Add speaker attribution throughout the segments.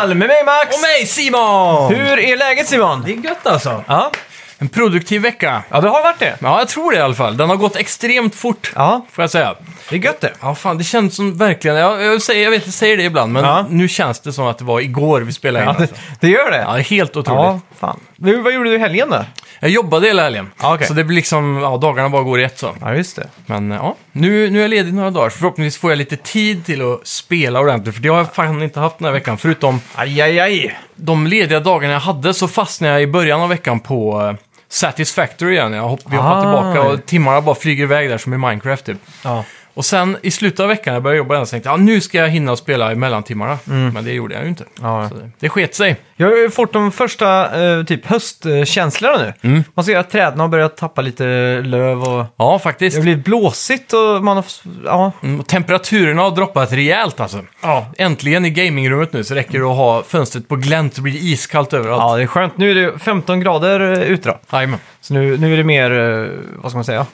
Speaker 1: podden med mig Max!
Speaker 2: Och mig Simon!
Speaker 1: Hur är läget Simon?
Speaker 2: Det är gött alltså.
Speaker 1: Ja.
Speaker 2: En produktiv vecka.
Speaker 1: ja, det har varit det.
Speaker 2: Ja, jag tror det i alla fall. Den har gått extremt fort,
Speaker 1: Ja,
Speaker 2: får jag säga.
Speaker 1: det är gött det.
Speaker 2: Ja, fan, det känns som verkligen... Jag, jag, säger, jag vet, jag säger det ibland, men
Speaker 1: Ja.
Speaker 2: nu känns det som att det var igår vi spelade in.
Speaker 1: Ja,
Speaker 2: Ja,
Speaker 1: det,
Speaker 2: alltså.
Speaker 1: det gör det.
Speaker 2: ja det är helt otroligt.
Speaker 1: Ja, fan. Du, vad gjorde du i helgen då?
Speaker 2: Jag jobbade hela helgen,
Speaker 1: Ja, okej.
Speaker 2: så det blir liksom... Ja, dagarna bara går i ett så.
Speaker 1: Ja, just det.
Speaker 2: Men eh, ja, nu, nu är jag ledig några dagar. Förhoppningsvis får jag lite tid till att spela ordentligt, för det har jag fan inte haft den här veckan. Förutom
Speaker 1: Aj, aj, aj.
Speaker 2: de lediga dagarna jag hade så fastnade jag i början av veckan på eh, Satisfactory igen. Jag hopp, vi hoppar
Speaker 1: Ah.
Speaker 2: tillbaka och timmarna bara flyger iväg där som i Minecraft typ.
Speaker 1: Ja.
Speaker 2: Och sen i slutet av veckan när jag började jobba igen så tänkte jag ah, nu ska jag hinna spela i mellantimmarna. Men det gjorde jag ju inte.
Speaker 1: Ja.
Speaker 2: Så det- det sket sig.
Speaker 1: Jag har ju fått de första eh, typ höstkänslorna nu.
Speaker 2: Mm.
Speaker 1: Man ser att träden har börjat tappa lite löv och
Speaker 2: Ja,
Speaker 1: det
Speaker 2: faktiskt.
Speaker 1: har blivit blåsigt och man har... Ja.
Speaker 2: Mm, och Temperaturerna har droppat rejält alltså.
Speaker 1: Ja.
Speaker 2: Äntligen i gamingrummet nu så räcker det att ha fönstret på glänt så blir det iskallt överallt.
Speaker 1: ja, det är skönt. Nu är det 15 grader eh, ute då.
Speaker 2: Jajamän.
Speaker 1: Så nu, nu är det mer, eh, vad ska man säga?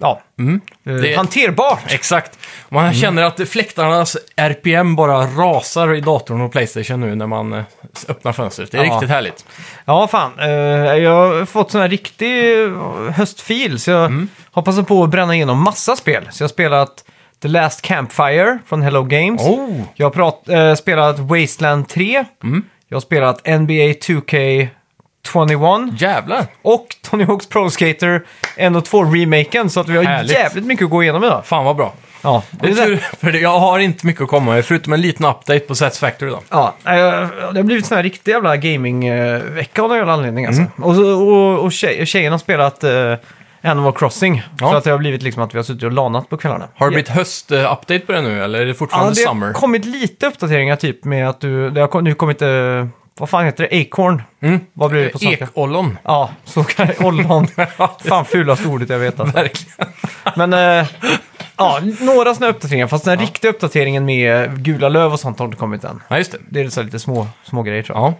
Speaker 1: Ja, Eh,
Speaker 2: Mm. Det är-
Speaker 1: hanterbart.
Speaker 2: Exakt. Man
Speaker 1: Mm.
Speaker 2: känner att fläktarnas RPM bara rasar i datorn och Playstation nu när man eh, öppnar fönstret. Det är
Speaker 1: Ja.
Speaker 2: riktigt härligt.
Speaker 1: Ja, fan. Eh, jag har fått sån här riktig eh, höstfil, så jag
Speaker 2: Mm.
Speaker 1: har passat på att bränna igenom massa spel. Så jag har spelat The Last Campfire från Hello Games.
Speaker 2: Oh! Mm.
Speaker 1: Jag har prat, eh, spelat Wasteland 3. Jag har spelat NBA 2K 21
Speaker 2: Jävlar!
Speaker 1: och Tony Hawk's Pro Skater 1 och 2-remaken. Så att vi har
Speaker 2: Härligt.
Speaker 1: jävligt mycket att gå igenom idag.
Speaker 2: Fan vad bra.
Speaker 1: Ja,
Speaker 2: Det är
Speaker 1: det-
Speaker 2: tur, för det- jag har inte mycket att komma med, förutom en liten update på Satisfactory då.
Speaker 1: Ja, eh, det har blivit sån här riktig jävla gamingvecka av någon jävla anledning alltså.
Speaker 2: Mm.
Speaker 1: Och, så- och, och tjej, tjejerna har spelat eh, Animal Crossing.
Speaker 2: Ja.
Speaker 1: Så att det har blivit liksom att vi har suttit och lanat på kvällarna.
Speaker 2: Har det blivit höst-update på det nu, eller är det
Speaker 1: ja,
Speaker 2: fortfarande
Speaker 1: det har
Speaker 2: summer?
Speaker 1: kommit lite uppdateringar typ med att du, det har kom- nu kommit, eh, vad fan heter det, Acorn?
Speaker 2: Mm.
Speaker 1: Vad blir det på svenska?
Speaker 2: Ekollon.
Speaker 1: Ja, så kan jag, ollon.
Speaker 2: Ja,
Speaker 1: fan fulaste ordet jag vet alltså.
Speaker 2: Verkligen.
Speaker 1: Men eh, ja, några såna uppdateringar, fast den här riktiga uppdateringen med gula löv och sånt har inte kommit än.
Speaker 2: Ja, just det.
Speaker 1: Det är så här lite små, små grejer tror jag.
Speaker 2: Ja.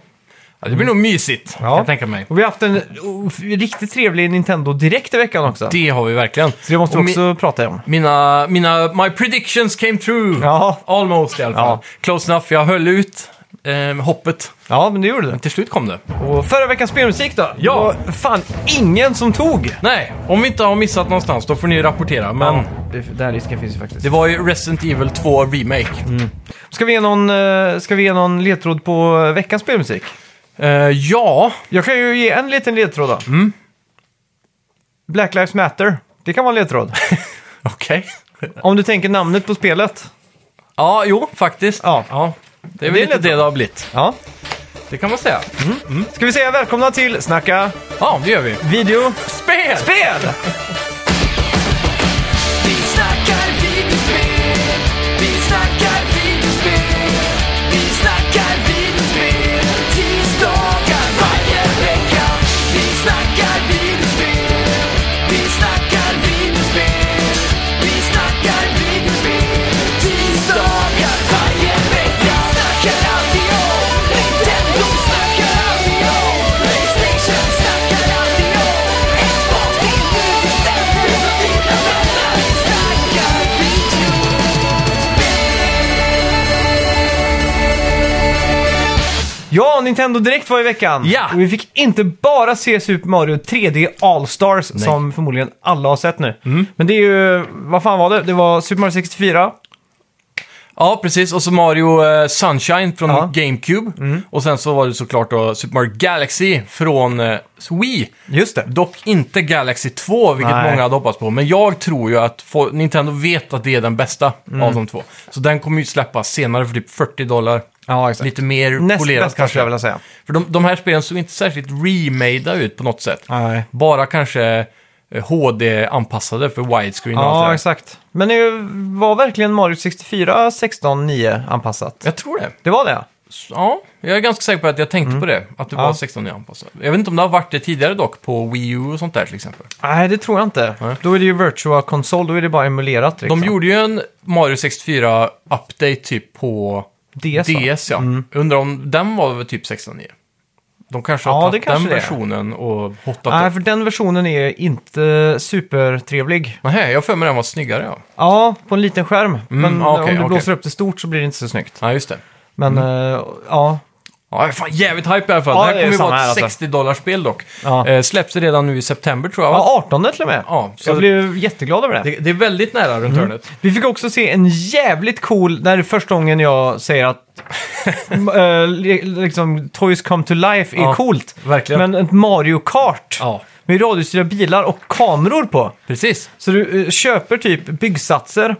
Speaker 2: ja det
Speaker 1: Mm.
Speaker 2: blir nog mysigt, kan jag tänka mig.
Speaker 1: Och vi har haft en oh, riktigt trevlig Nintendo direkt i veckan också.
Speaker 2: Det har vi verkligen.
Speaker 1: Så det måste vi
Speaker 2: Och mi-
Speaker 1: också prata om.
Speaker 2: Mina, mina, my predictions came true.
Speaker 1: Ja.
Speaker 2: Almost i alla fall.
Speaker 1: Ja.
Speaker 2: Close enough, jag höll ut eh, hoppet.
Speaker 1: Ja, men det gjorde det.
Speaker 2: Men till slut kom det.
Speaker 1: Och förra veckans spelmusik då?
Speaker 2: Ja.
Speaker 1: Det var fan ingen som tog!
Speaker 2: Nej, om vi inte har missat någonstans då får ni rapportera. Men
Speaker 1: det, den risken finns ju faktiskt.
Speaker 2: det var ju Resident Evil 2 Remake.
Speaker 1: Ska vi ge någon, eh, ska vi ge någon ledtråd på eh, veckans spelmusik?
Speaker 2: Eh, ja,
Speaker 1: Jag kan ju ge en liten ledtråd då. Black Lives Matter. Det kan vara en ledtråd.
Speaker 2: okej.
Speaker 1: Om du tänker namnet på spelet.
Speaker 2: Ja, jo, faktiskt.
Speaker 1: Ja.
Speaker 2: Det är väl
Speaker 1: Det är
Speaker 2: lite
Speaker 1: lite-
Speaker 2: det det har blivit.
Speaker 1: Ja.
Speaker 2: Det kan man säga.
Speaker 1: Ska vi säga välkomna till Snacka
Speaker 2: Ja, det gör vi.
Speaker 1: video
Speaker 2: Spel!
Speaker 1: spel!
Speaker 3: Vi snackar videospel, vi snackar videospel, vi snackar videospel, tisdagar varje vecka. Vi snackar videospel, vi snackar videospel, vi snackar videospel, tisdagar varje vecka. Vi snackar alltid om Nintendo, vi snackar alltid om Playstation, vi snackar alltid om Xbox, det är nu vi sänder och vi vänner. Vi snackar video.
Speaker 1: Ja, Nintendo Direkt var i veckan.
Speaker 2: Ja.
Speaker 1: Och vi fick inte bara se Super Mario 3D All-Stars, som förmodligen alla har sett nu.
Speaker 2: Mm.
Speaker 1: Men det är ju, vad fan var det? Det var Super Mario 64.
Speaker 2: Ja, precis. Och så Mario eh, Sunshine från
Speaker 1: Ja.
Speaker 2: GameCube. Och sen så var det såklart då Super Mario Galaxy från eh, Wii.
Speaker 1: Just det.
Speaker 2: Dock inte Galaxy 2, vilket
Speaker 1: Nej.
Speaker 2: många hade hoppats på. Men jag tror ju att fo- Nintendo vet att det är den bästa
Speaker 1: Mm.
Speaker 2: av de två. Så den kommer ju släppas senare för typ 40 dollar.
Speaker 1: Ja, exakt.
Speaker 2: Lite mer
Speaker 1: Näst
Speaker 2: polerat
Speaker 1: bästa skulle
Speaker 2: kanske.
Speaker 1: jag vilja säga.
Speaker 2: För de, de här spelen såg inte särskilt remada ut på något sätt.
Speaker 1: Nej.
Speaker 2: Bara kanske eh, HD-anpassade för widescreen och allt det
Speaker 1: Ja,
Speaker 2: där.
Speaker 1: exakt. Men det var verkligen Mario 64 16.9 anpassat?
Speaker 2: Jag tror det.
Speaker 1: Det var det?
Speaker 2: Ja, jag är ganska säker på att jag tänkte på det. Att det
Speaker 1: Mm. Ja.
Speaker 2: var 16 anpassat. Jag vet inte om det har varit det tidigare dock, på Wii U och sånt där till exempel.
Speaker 1: Nej, det tror jag inte.
Speaker 2: Nej.
Speaker 1: Då är det ju Virtual Console, då är det bara emulerat. Liksom.
Speaker 2: De gjorde ju en Mario 64-update typ på
Speaker 1: DS, va? Mm.
Speaker 2: DS, ja. Undrar om den var väl typ 16.9? De kanske har
Speaker 1: Ja, det
Speaker 2: tagit
Speaker 1: kanske
Speaker 2: den
Speaker 1: det är.
Speaker 2: versionen och hotat
Speaker 1: Nej,
Speaker 2: upp.
Speaker 1: för den versionen är inte supertrevlig.
Speaker 2: Nej, jag har för mig den var snyggare ja.
Speaker 1: Ja, på en liten skärm. Men eh, om du
Speaker 2: ja, okej, Mm, okej. Mm.
Speaker 1: blåser upp det stort så blir det inte så snyggt.
Speaker 2: Ja, just det.
Speaker 1: Men eh, ja,
Speaker 2: Ja, fan, jävligt hype i alla fall.
Speaker 1: Ja,
Speaker 2: det här
Speaker 1: det är
Speaker 2: kommer ju
Speaker 1: samma
Speaker 2: vara
Speaker 1: här,
Speaker 2: ett
Speaker 1: alltså.
Speaker 2: 60-dollarspel dock.
Speaker 1: Ja.
Speaker 2: Eh, släpps redan nu i september tror jag. va?
Speaker 1: ja 18 till och med.
Speaker 2: Ja, så-
Speaker 1: jag blev jätteglad över det.
Speaker 2: Det, det är väldigt nära
Speaker 1: Mm.
Speaker 2: runt hörnet.
Speaker 1: Vi fick också se en jävligt cool, när det är första gången jag säger att eh, li- liksom, Toys Come To Life är
Speaker 2: Ja,
Speaker 1: coolt.
Speaker 2: verkligen.
Speaker 1: Men ett Mario Kart
Speaker 2: Ja,
Speaker 1: med radiostyrda bilar och kameror på.
Speaker 2: precis.
Speaker 1: Så du eh, köper typ byggsatser,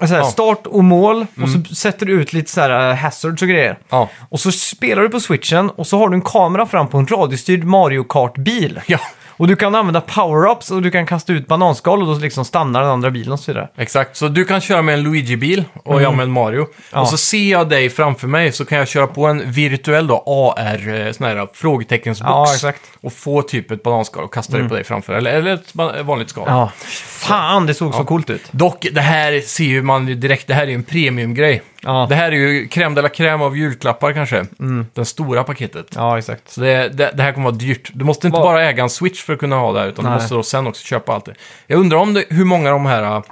Speaker 1: så här,
Speaker 2: Ja. Mm.
Speaker 1: start och mål och så sätter du ut lite så här eh, hazards och grejer.
Speaker 2: Ja.
Speaker 1: Och så spelar du på switchen och så har du en kamera fram på en radiostyrd Mario Kart-bil.
Speaker 2: Ja,
Speaker 1: Och du kan använda power-ups och du kan kasta ut bananskal och då liksom stannar den andra bilen och så vidare.
Speaker 2: exakt. Så du kan köra med en Luigi-bil och jag med en Mario.
Speaker 1: Mm. Ja.
Speaker 2: Och så ser jag dig framför mig så kan jag köra på en virtuell då, AR, eh, sån här frågeteckensbox.
Speaker 1: Ja, exakt. Mm.
Speaker 2: Och få typ ett bananskal och kasta det på dig framför. Eller, eller ett ba- vanligt skal.
Speaker 1: Ja. Fan, det såg så coolt ut.
Speaker 2: Dock, det här ser ju man ju direkt, det här är ju en premiumgrej.
Speaker 1: Ja. Mm.
Speaker 2: Det här är ju crème de la crème av julklappar kanske. Den stora paketet.
Speaker 1: Ja, exakt.
Speaker 2: Så det, det, det här kommer vara dyrt. Du måste inte
Speaker 1: Vad-
Speaker 2: bara äga en Switch för att kunna ha det här, utan
Speaker 1: Nej.
Speaker 2: du måste då sen också köpa allt det. Jag undrar om det, hur många av de här,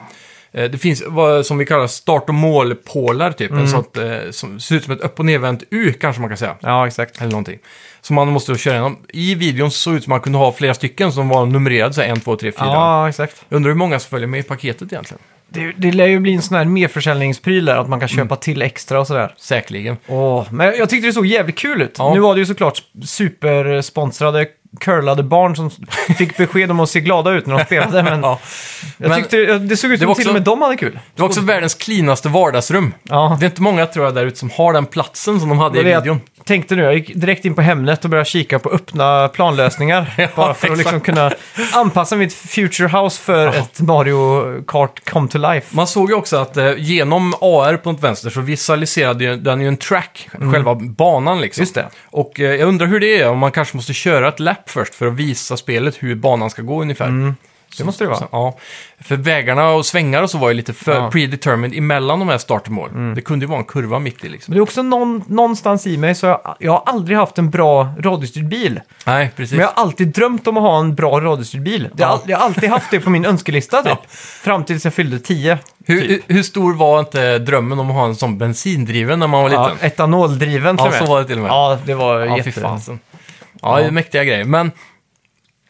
Speaker 2: eh, det finns vad som vi kallar start och målpålar typ,
Speaker 1: Mm.
Speaker 2: en sånt, eh, som ser ut som ett upp och nedvänt U kanske man kan säga.
Speaker 1: Ja, exakt.
Speaker 2: Eller någonting. Som man måste då köra igenom. I videon såg det ut som man kunde ha flera stycken som var numrerade, så här 1, 2, 3, 4.
Speaker 1: Ja, exakt.
Speaker 2: Jag undrar hur många som följer med i paketet egentligen.
Speaker 1: Det, det lär ju bli en sån här merförsäljningspryl där, att man kan köpa
Speaker 2: Mm.
Speaker 1: till extra och sådär.
Speaker 2: Säkerligen.
Speaker 1: Åh, men jag tyckte det såg jävligt kul ut.
Speaker 2: Ja.
Speaker 1: Nu var det ju såklart supersponsrade, curlade barn som fick besked om att se glada ut när de spelade. Men
Speaker 2: Ja.
Speaker 1: jag
Speaker 2: Men-
Speaker 1: tyckte det- det såg ut
Speaker 2: Det
Speaker 1: som
Speaker 2: var
Speaker 1: till
Speaker 2: också-
Speaker 1: och med de hade kul.
Speaker 2: Det var också världens cleanaste vardagsrum.
Speaker 1: Ja.
Speaker 2: Det är inte många tror jag där ute som har den platsen som de hade i
Speaker 1: Det var det
Speaker 2: videon.
Speaker 1: Jag tänkte nu, jag gick direkt in på Hemnet och började kika på öppna planlösningar. bara för att liksom
Speaker 2: exakt.
Speaker 1: kunna anpassa mitt future house för ett Mario Kart come to life.
Speaker 2: Man såg ju också att eh, genom AR på något vänster så visualiserade ju, den ju en track, själva banan liksom.
Speaker 1: Mm. Just det.
Speaker 2: Och eh, jag undrar hur det är, om man kanske måste köra ett lap först för att visa spelet hur banan ska gå ungefär.
Speaker 1: Det måste Mm. det vara.
Speaker 2: ja. För vägarna och svängar och så var ju lite för
Speaker 1: Ja. Mm.
Speaker 2: predetermined emellan de här start och mål. Det kunde ju vara en kurva mitt i liksom.
Speaker 1: Men det är också någon, någonstans i mig så jag, jag har aldrig haft en bra radiostyrd bil.
Speaker 2: Nej, precis.
Speaker 1: Men jag har alltid drömt om att ha en bra radiostyrd bil. Det har,
Speaker 2: Ja.
Speaker 1: Jag har alltid haft det på min önskelista typ. Fram tills jag fyllde 10.
Speaker 2: hur,
Speaker 1: Typ.
Speaker 2: hur- hur stor var inte drömmen om att ha en sån bensindriven när man var
Speaker 1: Ja,
Speaker 2: liten?
Speaker 1: etanoldriven
Speaker 2: Ja,
Speaker 1: till och med.
Speaker 2: så var det till och med.
Speaker 1: Ja, det var
Speaker 2: Ja,
Speaker 1: jätte...
Speaker 2: fy fasen. Ja, det är mäktiga grejer. Men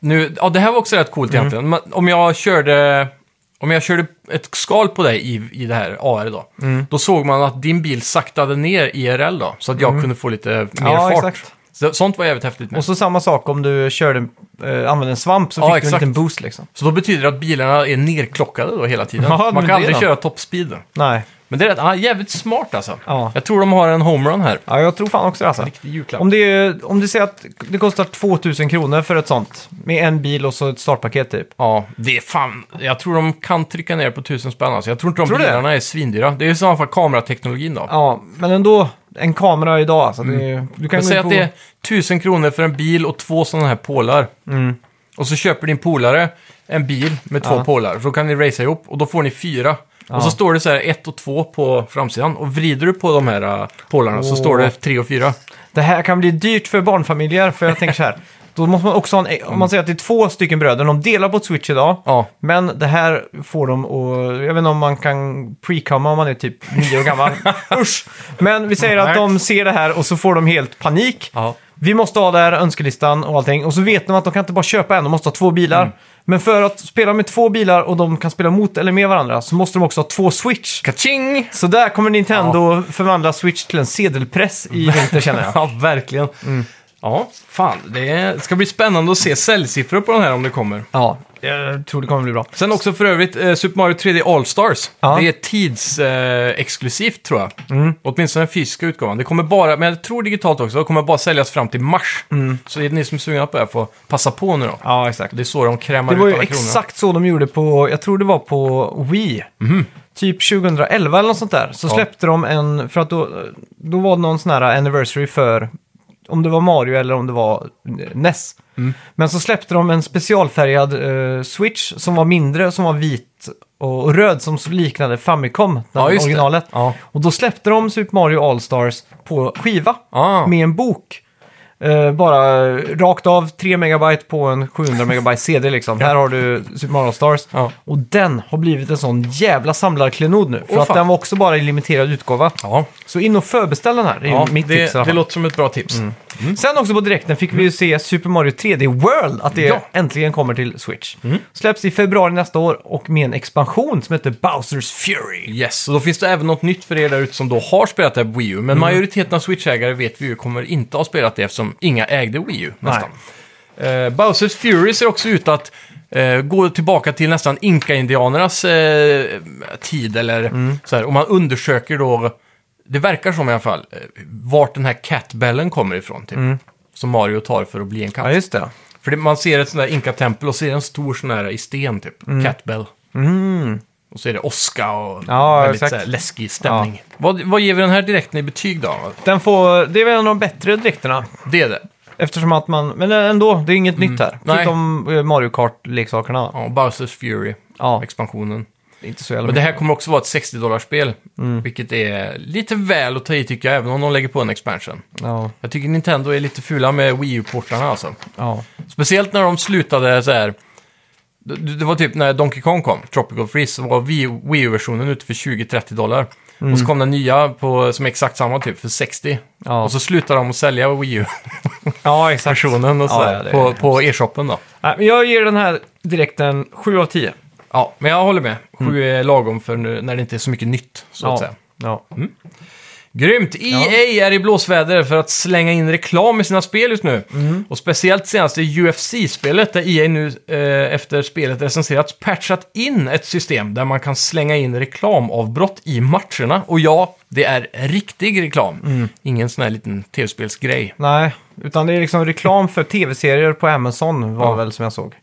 Speaker 2: nu, ja, det här var också rätt
Speaker 1: Mm.
Speaker 2: coolt egentligen. Men Om jag körde... Om jag körde ett skal på dig i, i det här AR då,
Speaker 1: Mm.
Speaker 2: då såg man att din bil saktade ner IRL då, så att jag kunde få lite mer
Speaker 1: Mm. Ja,
Speaker 2: fart.
Speaker 1: exakt.
Speaker 2: Så, sånt var jävligt häftigt med.
Speaker 1: Och så samma sak om du körde, eh, använde en svamp så
Speaker 2: Ja,
Speaker 1: fick du en
Speaker 2: exakt.
Speaker 1: liten boost liksom.
Speaker 2: Så då betyder det att bilarna är nerklockade då hela tiden.
Speaker 1: Ja, men
Speaker 2: man
Speaker 1: det
Speaker 2: kan aldrig
Speaker 1: då.
Speaker 2: köra toppspeeden.
Speaker 1: Nej.
Speaker 2: Men det är rätt, ja, jävligt smart alltså.
Speaker 1: Ja.
Speaker 2: Jag tror de har en homerun här.
Speaker 1: Ja, jag tror fan också det alltså.
Speaker 2: Riktig julklapp.
Speaker 1: Om det, är- om det säger att det kostar 2000 kronor för ett sånt, med en bil och så ett startpaket typ.
Speaker 2: Ja, det är fan. Jag tror de kan trycka ner på tusen spänn. Alltså. Jag tror inte de
Speaker 1: Tror du det?
Speaker 2: bilarna är svindyra. Det är i så fall kamerateknologin då.
Speaker 1: Ja, men ändå, en kamera idag alltså. Det, är- du kan
Speaker 2: Mm. Men
Speaker 1: gå
Speaker 2: säg
Speaker 1: in
Speaker 2: att
Speaker 1: på...
Speaker 2: det är tusen kronor för en bil och två sådana här pålar. Och så köper din polare en bil med två
Speaker 1: Mm. Ja.
Speaker 2: pålar. Så kan ni racea ihop och då får ni fyra.
Speaker 1: Ja.
Speaker 2: Och så står det så här ett och två på framsidan. Och vrider du på de här äh, pålarna så
Speaker 1: Åh.
Speaker 2: står det tre och fyra.
Speaker 1: Det här kan bli dyrt för barnfamiljer, för jag tänker så här. Då måste man också ha en, om man säger att det är två stycken bröder, de delar på ett switch idag.
Speaker 2: Mm. Ja,
Speaker 1: Men det här får de att, jag vet inte om man kan pre-comma om man är typ nio år gammal. Usch! Men vi säger att de ser det här och så får de helt panik.
Speaker 2: ja.
Speaker 1: Vi måste ha där önskelistan och allting. Och så vet de att de kan inte bara köpa en, de måste ha två bilar.
Speaker 2: Mm.
Speaker 1: Men för att spela med två bilar och de kan spela mot eller med varandra så måste de också ha två switch.
Speaker 2: Kaching!
Speaker 1: Så där kommer Nintendo förvandla switch till en sedelpress i vinter känner jag. Mm.
Speaker 2: Ja, verkligen. Ja, fan. Det är- det ska bli spännande att se säljsiffror på den här om det kommer.
Speaker 1: Ja, jag tror det kommer bli bra.
Speaker 2: Sen också för övrigt eh, Super Mario 3D All-Stars.
Speaker 1: Ja. Mm.
Speaker 2: Det är tidsexklusivt eh, exklusivt, tror jag. Åtminstone den fysiska utgåvan. Det kommer bara, men jag tror digitalt också, det kommer bara säljas fram till mars.
Speaker 1: Mm.
Speaker 2: Så är det ni som är sugna på det här får passa på nu då.
Speaker 1: Ja, exakt.
Speaker 2: Det är så de krämar
Speaker 1: Det var
Speaker 2: ut
Speaker 1: ju
Speaker 2: alla kronorna.
Speaker 1: exakt så de gjorde på, jag tror det var på Wii. Typ 2011 eller något sånt där. Så
Speaker 2: Mhm. Ja.
Speaker 1: släppte de en, för att då, då var det någon sån här anniversary för, om det var Mario eller om det var eh, NES.
Speaker 2: Mm.
Speaker 1: Men så släppte de en specialfärgad eh, Switch som var mindre, som var vit och, och röd som så liknade Famicom, den
Speaker 2: Ja, just det.
Speaker 1: originalet.
Speaker 2: Ja.
Speaker 1: Och då släppte de Super Mario All-Stars på skiva
Speaker 2: Ah.
Speaker 1: med en bok. Eh, bara rakt av 3 megabyte på en 700 megabyte CD liksom. Här har du Super Mario Stars.
Speaker 2: Ja.
Speaker 1: Och den har blivit en sån jävla samlarklenod nu. För
Speaker 2: Åh,
Speaker 1: att
Speaker 2: fan.
Speaker 1: den var också bara i limiterad utgåva.
Speaker 2: Ja,
Speaker 1: Så in och förbeställ den här, det är
Speaker 2: ja
Speaker 1: ju mitt tips. i
Speaker 2: det,
Speaker 1: alla
Speaker 2: det
Speaker 1: fall. Mm.
Speaker 2: låter som ett bra tips.
Speaker 1: Sen också på direkten fick vi ju se Super Mario 3D World, att det
Speaker 2: Ja. Mm.
Speaker 1: äntligen kommer till Switch. Släpps i februari nästa år och med en expansion som heter Bowsers Fury.
Speaker 2: Yes, och då finns det även något nytt för er där ute som då har spelat det här på Wii U. Men majoriteten av Switch-ägare vet vi ju kommer inte ha spelat det eftersom inga ägde Wii U nästan. Eh, Bowsers Fury ser också ut att eh, gå tillbaka till nästan Inka-indianernas eh, tid eller så här. Och man undersöker då, det verkar som i alla fall, eh, vart den här catbellen kommer ifrån. Typ. Som Mario tar för att bli en katt.
Speaker 1: Ja, just det.
Speaker 2: För det, man ser ett sånt där Inka-tempel och ser en stor sån här i sten typ.
Speaker 1: Mm.
Speaker 2: Catbell. Och så är det åska och
Speaker 1: Ja,
Speaker 2: väldigt
Speaker 1: exakt.
Speaker 2: så här, läskig stämning. Vad, vad ger vi den här direkten i betyg då?
Speaker 1: Den får, det är väl en av de bättre direkterna.
Speaker 2: Det är det.
Speaker 1: Eftersom att man, men ändå, det är inget nytt här.
Speaker 2: Mm. Nej.
Speaker 1: Förutom eh, Mario Kart-leksakerna. Ja.
Speaker 2: Ja, Bowsers Fury,
Speaker 1: ja,
Speaker 2: expansionen.
Speaker 1: inte så jävla
Speaker 2: Men det här kommer också vara ett 60-dollarspel.
Speaker 1: Mm.
Speaker 2: Vilket är lite väl att ta i tycker jag, även om de lägger på en expansion.
Speaker 1: mycket. Ja,
Speaker 2: Jag tycker Nintendo är lite fula med Wii U-portarna alltså.
Speaker 1: ja.
Speaker 2: Speciellt när de slutade så här. Det, det var typ när Donkey Kong kom, Tropical Freeze, så var Wii- Wii U-versionen ute för 20-30 dollar. Och så kom den nya på, som är exakt samma typ, för 60.
Speaker 1: Mm. Ja.
Speaker 2: Och så slutade de att sälja Wii
Speaker 1: ja exakt.
Speaker 2: U-versionen och så
Speaker 1: Ja,
Speaker 2: där,
Speaker 1: ja, det är
Speaker 2: på, på e-shoppen då.
Speaker 1: Nej, men jag ger den här direkten 7 av 10.
Speaker 2: Ja, men jag håller med. Sju är lagom för nu, när det inte är så mycket nytt, så att
Speaker 1: Mm. Ja.
Speaker 2: säga.
Speaker 1: Ja.
Speaker 2: Grymt! EA är i blåsväder för att slänga in reklam i sina spel just nu.
Speaker 1: Mm.
Speaker 2: Och speciellt senaste UFC-spelet där EA nu eh, efter spelet recenserats patchat in ett system där man kan slänga in reklamavbrott i matcherna. Och ja, det är riktig reklam.
Speaker 1: Mm.
Speaker 2: Ingen sån här liten tv-spelsgrej.
Speaker 1: Nej, utan det är liksom reklam för tv-serier på Amazon var väl som jag såg.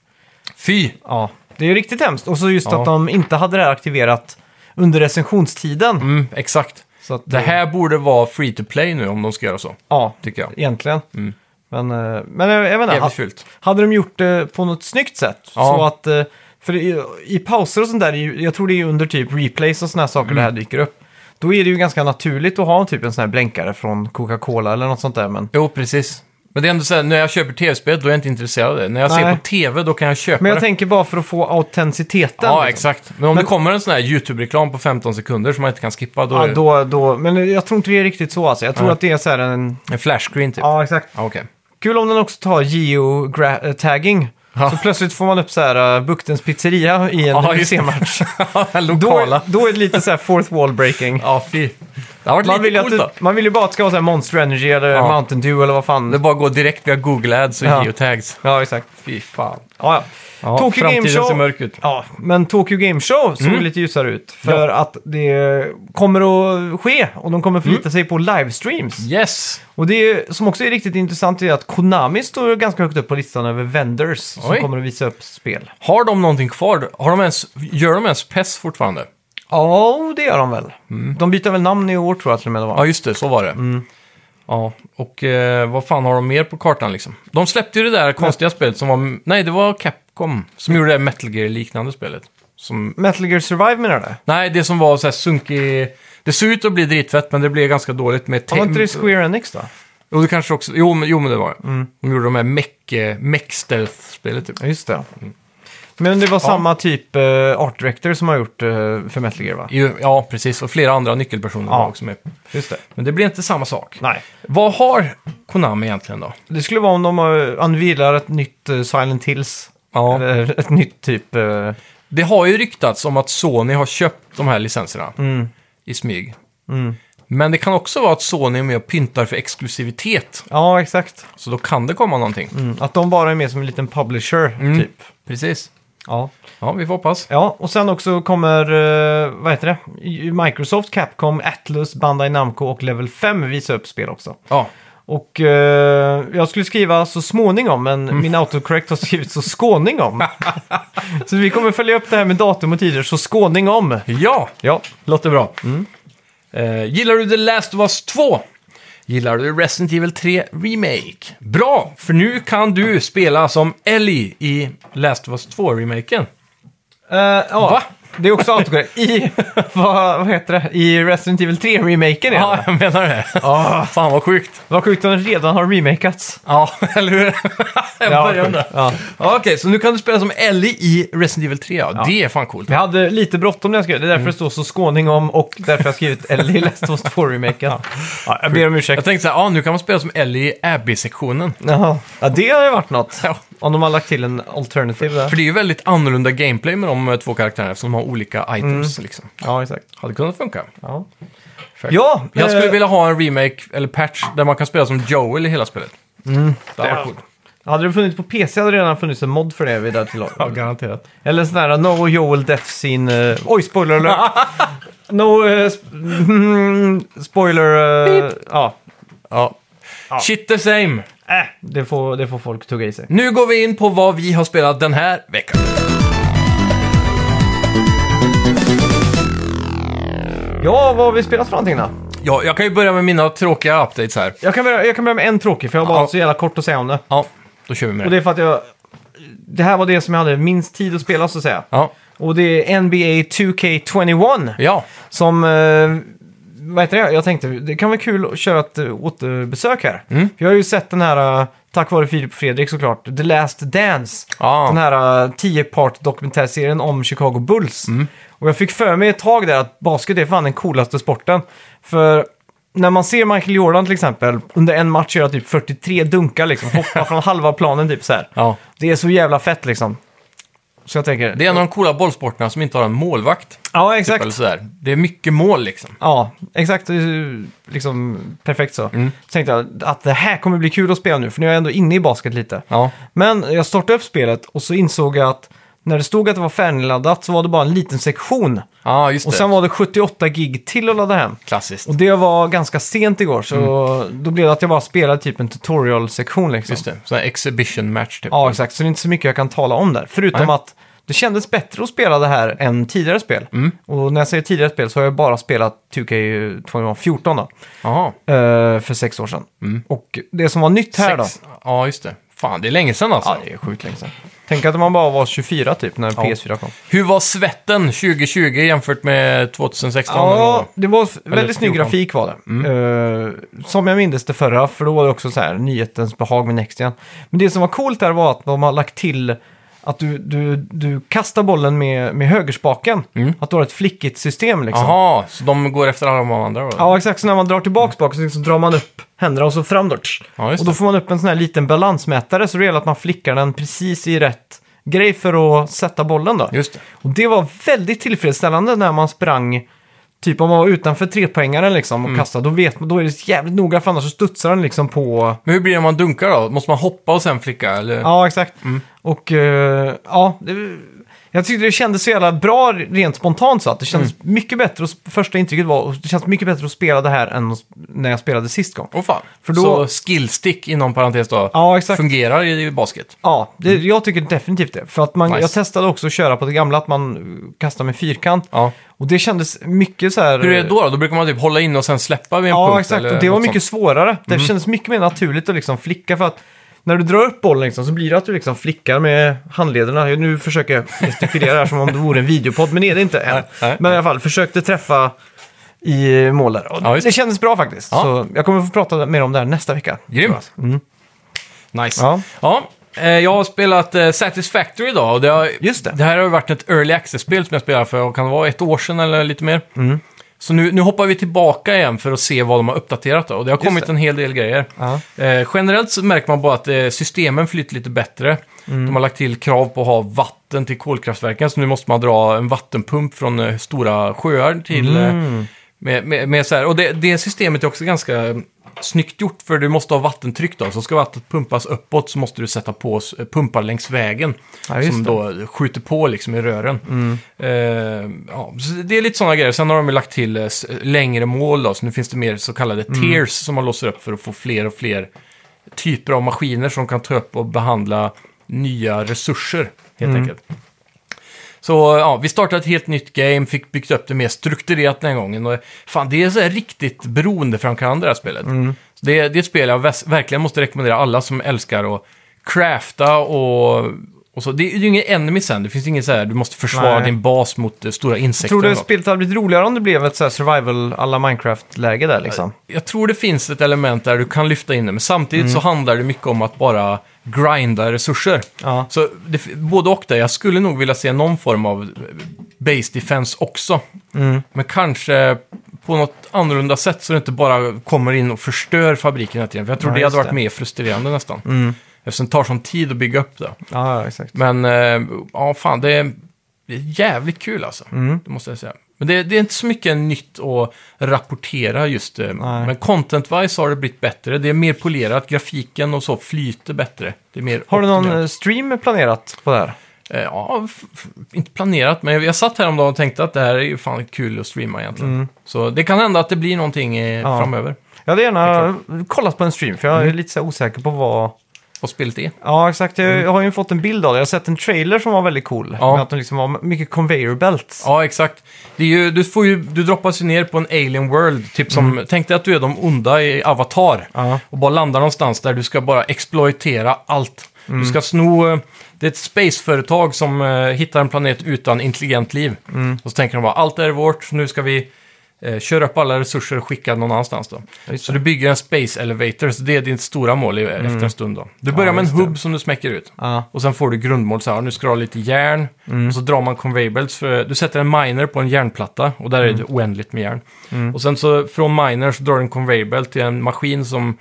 Speaker 2: Fy!
Speaker 1: Ja, det är ju riktigt hemskt. Och så just
Speaker 2: Ja.
Speaker 1: att de inte hade det här aktiverat under recensionstiden.
Speaker 2: Mm, exakt.
Speaker 1: Så att, eh,
Speaker 2: Det här borde vara free to play nu om de ska göra så,
Speaker 1: Ja,
Speaker 2: tycker jag.
Speaker 1: egentligen.
Speaker 2: Mm.
Speaker 1: Men, eh, men jag, jag vet inte,
Speaker 2: Jävligt
Speaker 1: ha-
Speaker 2: fult.
Speaker 1: hade de gjort det på något snyggt sätt?
Speaker 2: Ja.
Speaker 1: Så att, eh, för i, i pauser och sånt där, i- jag tror det är under typ replays och såna här saker det
Speaker 2: Mm.
Speaker 1: här dyker upp. Då är det ju ganska naturligt att ha en typ en sån här blänkare från Coca-Cola eller något sånt där. Men,
Speaker 2: Jo, precis. Men det är ändå så här, när jag köper tv-spel då är jag inte intresserad av det. När jag ser
Speaker 1: Nej.
Speaker 2: på tv då kan jag köpa
Speaker 1: men jag
Speaker 2: det.
Speaker 1: tänker bara för att få autenticiteten.
Speaker 2: Ja,
Speaker 1: liksom.
Speaker 2: exakt. Men om det kommer en sån här YouTube-reklam på 15 sekunder som man inte kan skippa, då
Speaker 1: Ja,
Speaker 2: är det
Speaker 1: då, då, men jag tror inte det är riktigt så alltså. Jag tror
Speaker 2: Nej.
Speaker 1: att det är så här en...
Speaker 2: en flashscreen typ. Ja.
Speaker 1: Ja, exakt.
Speaker 2: Okej.
Speaker 1: Kul om den också tar geotagging.
Speaker 2: Ja.
Speaker 1: Så plötsligt får man upp så här uh, Buktens pizzeria i en
Speaker 2: Ja, just det.
Speaker 1: UC-match.
Speaker 2: Den
Speaker 1: då,
Speaker 2: Lokala.
Speaker 1: då är det lite så här fourth wall breaking.
Speaker 2: Ja, fy. Det har varit
Speaker 1: Man vill, ju
Speaker 2: lite
Speaker 1: att
Speaker 2: coolt
Speaker 1: du,
Speaker 2: då.
Speaker 1: man vill ju bara att det ska vara så här Monster Energy eller
Speaker 2: Ja.
Speaker 1: Mountain Dew eller vad fan.
Speaker 2: Det bara går direkt via Google Ads och
Speaker 1: Ja.
Speaker 2: geotags.
Speaker 1: Ja, exakt.
Speaker 2: Fy fan.
Speaker 1: Ja, ja.
Speaker 2: Ja,
Speaker 1: Tokyo
Speaker 2: framtiden
Speaker 1: Game Show.
Speaker 2: ser mörk ut. Mm.
Speaker 1: Ja, men Tokyo Game Show såg lite ljusare ut. För att det kommer att ske och de
Speaker 2: Mm.
Speaker 1: kommer förlita sig på livestreams.
Speaker 2: Yes!
Speaker 1: Och det som också är riktigt intressant är att Konami står ganska högt upp på listan över vendors som
Speaker 2: Oj.
Speaker 1: kommer att visa upp spel.
Speaker 2: Har de någonting kvar? Har de ens, gör de ens PES fortfarande?
Speaker 1: Ja, det gör de väl.
Speaker 2: Mm.
Speaker 1: De byter väl namn i år tror jag till och med det var.
Speaker 2: Ja, just det. Så var det.
Speaker 1: Mm.
Speaker 2: Ja, och eh, vad fan har de mer på kartan liksom? De släppte ju det där konstiga spelet som var... Nej, det var Capcom som gjorde det här Metal Gear-liknande spelet. Som
Speaker 1: Metal Gear Survive menar du?
Speaker 2: Nej, det som var så här sunkig... Det såg ut att bli dritfett, men det blev ganska dåligt med...
Speaker 1: Var
Speaker 2: te-
Speaker 1: inte det Square Enix då?
Speaker 2: Jo, det kanske också... Jo, men, jo, men det var det.
Speaker 1: Mm.
Speaker 2: De gjorde de här mech, eh, mech-stealth-spelet typ.
Speaker 1: Ja, just det. Mm. Men det var samma typ eh, art director som har gjort eh, för Metal Gear va?
Speaker 2: Jo, Ja, precis. Och flera andra nyckelpersoner
Speaker 1: Ja.
Speaker 2: var också med.
Speaker 1: Just det.
Speaker 2: Men det blir inte samma sak.
Speaker 1: Nej.
Speaker 2: Vad har Konami egentligen då?
Speaker 1: Det skulle vara om de uh, anvilar ett nytt eh, Silent Hills.
Speaker 2: Ja.
Speaker 1: Eller ett nytt typ... eh,
Speaker 2: Det har ju ryktats om att Sony har köpt de här licenserna
Speaker 1: Mm.
Speaker 2: i smyg. Men det kan också vara att Sony är med och pyntar för exklusivitet.
Speaker 1: ja, exakt.
Speaker 2: Så då kan det komma någonting.
Speaker 1: Mm. Att de bara är med som en liten publisher, typ.
Speaker 2: Precis.
Speaker 1: Ja.
Speaker 2: Ja, vi får hoppas.
Speaker 1: Ja, och sen också kommer, eh, vad heter det, I- Microsoft, Capcom, Atlus, Bandai Namco och Level 5 visa upp spel också.
Speaker 2: Ja.
Speaker 1: Och eh, jag skulle skriva så småningom, men min autocorrect har skrivit så skåningom. så vi kommer följa upp det här med datum och tider, så skåningom.
Speaker 2: Ja!
Speaker 1: Ja,
Speaker 2: Låter bra. Mm. Eh, gillar du The Last of Us 2? Gillar du Resident Evil 3 Remake? Bra, för nu kan du spela som Ellie i Last of Us 2-remaken.
Speaker 1: Eh, ja.
Speaker 2: Va?
Speaker 1: Det är också autocorrect. I, vad, vad heter det? I Resident Evil 3-remaken är
Speaker 2: Ja,
Speaker 1: det.
Speaker 2: jag menar det.
Speaker 1: Ah,
Speaker 2: Fan vad sjukt.
Speaker 1: vad sjukt om den redan har remakats.
Speaker 2: Ja, eller hur? jag
Speaker 1: Ja,
Speaker 2: börjar
Speaker 1: sjukt.
Speaker 2: undra.
Speaker 1: Ja.
Speaker 2: Ja, Okej, så nu kan du spela som Ellie i Resident Evil 3. Ja. Det är fan coolt.
Speaker 1: Jag hade lite bråttom när jag skrev det. Det är därför det står så skåningom och därför jag har skrivit Ellie i Last of Us 2-remaken. Ja. jag ber om
Speaker 2: Jag
Speaker 1: ursäkt.
Speaker 2: tänkte så här, ja, nu kan man spela som Ellie i Abby-sektionen.
Speaker 1: Jaha. Ja, det hade ju varit något.
Speaker 2: Ja.
Speaker 1: Om de har lagt till en alternativ där.
Speaker 2: För det är ju väldigt annorlunda gameplay med de eh, två karaktärerna eftersom de har olika items. Liksom.
Speaker 1: Ja, exakt.
Speaker 2: Hade kunnat funka.
Speaker 1: Ja,
Speaker 2: Fair.
Speaker 1: ja
Speaker 2: Jag skulle
Speaker 1: eh,
Speaker 2: vilja ha en remake eller patch där man kan spela som Joel i hela spelet. Det hade
Speaker 1: det-
Speaker 2: varit coolt.
Speaker 1: hade det funnits på PC hade det redan funnits en mod för det vid det här tillaget.
Speaker 2: garanterat.
Speaker 1: Eller en sån här No Joel Death Scene... eh, oj, spoiler alert! no... eh, sp- mm, spoiler... eh, ja.
Speaker 2: Ja. Shit the same!
Speaker 1: Äh, det, får, det får folk tugga i sig.
Speaker 2: Nu går vi in på vad vi har spelat den här veckan.
Speaker 1: Ja, vad har vi spelat för någonting då?
Speaker 2: Ja, jag kan ju börja med mina tråkiga updates här.
Speaker 1: Jag kan börja, jag kan börja med en tråkig, för jag har bara
Speaker 2: Ja.
Speaker 1: så jävla kort att säga om det.
Speaker 2: Ja, då kör vi med
Speaker 1: Och
Speaker 2: det.
Speaker 1: det är för att jag... Det här var det som jag hade minst tid att spela, så att säga.
Speaker 2: Ja.
Speaker 1: Och det är NBA 2K21.
Speaker 2: ja,
Speaker 1: Som... Eh, vad heter det? Jag tänkte det kan vara kul att köra ett eh, återbesök här.
Speaker 2: Mm.
Speaker 1: För jag har ju sett den här, eh, tack vare Filip och Fredrik såklart, The Last Dance.
Speaker 2: Ja.
Speaker 1: Den här 10-part dokumentärserien om Chicago Bulls.
Speaker 2: Mm.
Speaker 1: Och jag fick för mig ett tag där att basket är fan den coolaste sporten. För när man ser Michael Jordan till exempel, under en match göra typ 43 dunkar liksom, hoppa från halva planen typ så här.
Speaker 2: ja.
Speaker 1: Det är så jävla fett liksom. Så jag tänker,
Speaker 2: Det är en av de coola bollsporterna som inte har en målvakt.
Speaker 1: ja
Speaker 2: Typ,
Speaker 1: exakt.
Speaker 2: eller sådär. Det är mycket mål liksom.
Speaker 1: Ja, exakt. Det är ju Liksom perfekt så.
Speaker 2: Mm.
Speaker 1: Så tänkte jag att det här kommer bli kul att spela nu, för nu är jag ändå inne i basket lite.
Speaker 2: Ja,
Speaker 1: Men jag startade upp spelet och så insåg jag att när det stod att det var färdigladdat så var det bara en liten sektion.
Speaker 2: ja just
Speaker 1: Och
Speaker 2: det.
Speaker 1: sen var det 78 gig till att ladda hem.
Speaker 2: Klassiskt. Mm.
Speaker 1: Och det var ganska sent igår, så då blev det att jag bara spelade typ en tutorial-sektion liksom.
Speaker 2: Just det, sån här exhibition match typ.
Speaker 1: Ja, exakt. Så det är inte så mycket jag kan tala om där. Förutom
Speaker 2: Nej.
Speaker 1: att det kändes bättre att spela det här än tidigare spel.
Speaker 2: Mm.
Speaker 1: Och när jag säger tidigare spel så har jag bara spelat 2K14 då.
Speaker 2: Jaha.
Speaker 1: eh, för sex år sedan. Och det som var nytt här då.
Speaker 2: Mm. Sex. Ja, just det. Fan, det är länge sedan alltså.
Speaker 1: Ja, det är sjukt länge sedan. Tänk att man bara var 24 typ när PS4 kom.
Speaker 2: Hur var svetten 2020 jämfört med 2016? eller Mm. vad det
Speaker 1: Ja,
Speaker 2: var?
Speaker 1: det var f- väldigt snygg
Speaker 2: 14.
Speaker 1: grafik var det. Eh, som jag minns det förra, för då var det också så här nyhetens behag med NextGen. Men det som var coolt där var att de har lagt till att du, du, du kastar bollen med, med högerspaken.
Speaker 2: Mm.
Speaker 1: Att du har ett flickigt system liksom.
Speaker 2: Jaha, så de går efter alla de andra då?
Speaker 1: Ja, exakt. Så när man drar tillbaka bak så liksom drar man upp händerna och så fram då.
Speaker 2: Ja, just
Speaker 1: och då
Speaker 2: det.
Speaker 1: får man upp en sån här liten balansmätare så det gäller att man flickar den precis i rätt grej för att sätta bollen då.
Speaker 2: Just det.
Speaker 1: Och det var väldigt tillfredsställande när man sprang, typ om man var utanför trepoängaren liksom
Speaker 2: Mm.
Speaker 1: och kastade, då vet man, då är det jävligt noga för annars så studsar den liksom på...
Speaker 2: Men hur blir det om man dunkar då? Måste man hoppa och sen flicka? Eller?
Speaker 1: Ja, exakt.
Speaker 2: Mm.
Speaker 1: Och eh, ja, det, jag tyckte det kändes så jävla bra rent spontant så att det kändes
Speaker 2: Mm.
Speaker 1: mycket bättre, och första intrycket var, och det känns mycket bättre att spela det här än att- när jag spelade sist gång.
Speaker 2: Åh fan.
Speaker 1: För då-
Speaker 2: Så skillstick inom parentes då,
Speaker 1: Ja, exakt.
Speaker 2: fungerar i basket?
Speaker 1: Ja, det, jag tycker definitivt det. För att man,
Speaker 2: Mm. Nice.
Speaker 1: jag testade också att köra på det gamla, att man eh, kastar med fyrkant.
Speaker 2: Ja.
Speaker 1: Och det kändes mycket så här...
Speaker 2: Hur är det då? Då brukar man typ hålla in och sen släppa vid en punkt?
Speaker 1: Ja, exakt.
Speaker 2: eller
Speaker 1: Och det var
Speaker 2: något Mm.
Speaker 1: mycket svårare. Det kändes mycket mer naturligt att liksom flicka för att när du drar upp bollen liksom, så blir det att du liksom flickar med handlederna. Nu försöker jag gestikulera här som om det vore en videopodd, men det är det inte än.
Speaker 2: Nej, nej.
Speaker 1: Men i alla fall, försökte träffa i mål där. Och
Speaker 2: Ja, just det.
Speaker 1: det kändes bra faktiskt.
Speaker 2: Ja.
Speaker 1: Så jag kommer få prata mer om det här nästa vecka.
Speaker 2: Grymt. Mm. Nice. Ja.
Speaker 1: Ja.
Speaker 2: eh, Jag har spelat eh, Satisfactory idag och det, har,
Speaker 1: Just det.
Speaker 2: här har ju varit ett early access-spel som jag spelade för, vad kan det vara, ett år sedan eller lite mer.
Speaker 1: Mm.
Speaker 2: Så nu, nu hoppar vi tillbaka igen för att se vad de har uppdaterat då. Och det har kommit
Speaker 1: det.
Speaker 2: en hel del grejer.
Speaker 1: Ja.
Speaker 2: Eh, generellt så märker man bara att eh, systemen flyter lite bättre. De har lagt till krav på att ha vatten till kolkraftverken, så nu måste man dra en vattenpump från eh, stora sjöar till... Eh, med, med, med så här. Och det, det systemet är också ganska eh, snyggt gjort, för du måste ha vattentryck då. Så ska vattnet pumpas uppåt så måste du sätta på s- eh, pumpar längs vägen.
Speaker 1: Ja, just
Speaker 2: som
Speaker 1: det. Mm.
Speaker 2: då skjuter på liksom i rören. Eh, ja, så det är lite sådana grejer. Sen har de ju lagt till eh, s- längre mål då, så nu finns det mer så kallade
Speaker 1: Mm.
Speaker 2: tiers som man låser upp för att få fler och fler typer av maskiner som kan ta upp och behandla nya resurser, helt
Speaker 1: Mm.
Speaker 2: enkelt. Så ja, vi startade ett helt nytt game, fick byggt upp det mer strukturerat den här gången. Och fan, det är så här riktigt beroendeframkallande det här spelet.
Speaker 1: Mm.
Speaker 2: Så Det, det är ett spel jag väs- verkligen måste rekommendera alla som älskar att crafta och, och Och så, det är ju ingen enemy sen, det finns ingen så här, du måste försvara
Speaker 1: Nej.
Speaker 2: din bas mot eh, stora insekter.
Speaker 1: Tror du
Speaker 2: och något.
Speaker 1: spelet hade blivit roligare om det blev ett så här survival alla Minecraft-läge där liksom?
Speaker 2: Jag tror det finns ett element där du kan lyfta in det, men samtidigt så handlar det mycket om att bara grinda resurser.
Speaker 1: Mm. Ja.
Speaker 2: Så det, både och där, jag skulle nog vilja se någon form av eh, base defense också.
Speaker 1: Mm.
Speaker 2: Men kanske på något annorlunda sätt så det inte bara kommer in och förstör fabriken hela tiden. För jag tror
Speaker 1: Ja,
Speaker 2: det
Speaker 1: just
Speaker 2: hade varit
Speaker 1: det. Mm.
Speaker 2: mer frustrerande nästan. Eftersom det tar sån tid att bygga upp det.
Speaker 1: Ja, ja, exakt.
Speaker 2: Men eh, ja, fan, det är, det är jävligt kul alltså.
Speaker 1: Mm.
Speaker 2: Det måste jag säga. Men det, det är inte så mycket nytt att rapportera just. eh,
Speaker 1: Nej.
Speaker 2: Men content-wise har det blivit bättre. Det är mer polerat, grafiken och så flyter bättre. Det är mer
Speaker 1: Har du någon
Speaker 2: optimerat.
Speaker 1: eh, stream planerat på det här?
Speaker 2: Eh, Ja, f- f- inte planerat, men jag, jag satt häromdagen och tänkte att det här är ju fan kul att streama egentligen. Så det kan hända att det blir någonting eh,
Speaker 1: Ja.
Speaker 2: framöver.
Speaker 1: Jag hade gärna kollat på en stream, för jag är lite så här osäker på vad... Mm.
Speaker 2: Vad spelet är.
Speaker 1: Mm. Ja, exakt. Jag jag har ju fått en bild av det. Jag har sett en trailer som var väldigt cool.
Speaker 2: Ja.
Speaker 1: Med att de liksom har mycket conveyor belts.
Speaker 2: Ja, exakt. Det är ju, du, får ju, du droppas ju ner på en alien world, typ som, tänk dig att du är de onda i Avatar.
Speaker 1: Mm. Ja.
Speaker 2: Och bara landar någonstans där du ska bara exploitera allt.
Speaker 1: Mm.
Speaker 2: Du ska sno, eh, det är ett spaceföretag som eh, hittar en planet utan intelligent liv.
Speaker 1: Mm.
Speaker 2: Och så tänker de bara, allt är vårt, nu ska vi eh, köra upp alla resurser och skicka någon annanstans då.
Speaker 1: just Mm.
Speaker 2: Så du bygger en space elevator, så det är ditt stora mål i- efter en stund då. Du börjar med en
Speaker 1: just det.
Speaker 2: hubb som du smäcker ut.
Speaker 1: Ja.
Speaker 2: Och sen får du grundmål så här, nu ska du ha lite järn.
Speaker 1: Mm.
Speaker 2: Och så drar man conveyor belts. För, du sätter en miner på en järnplatta och där är
Speaker 1: Mm.
Speaker 2: det oändligt med järn. Och sen så från miner så drar du en conveyor belt till en maskin som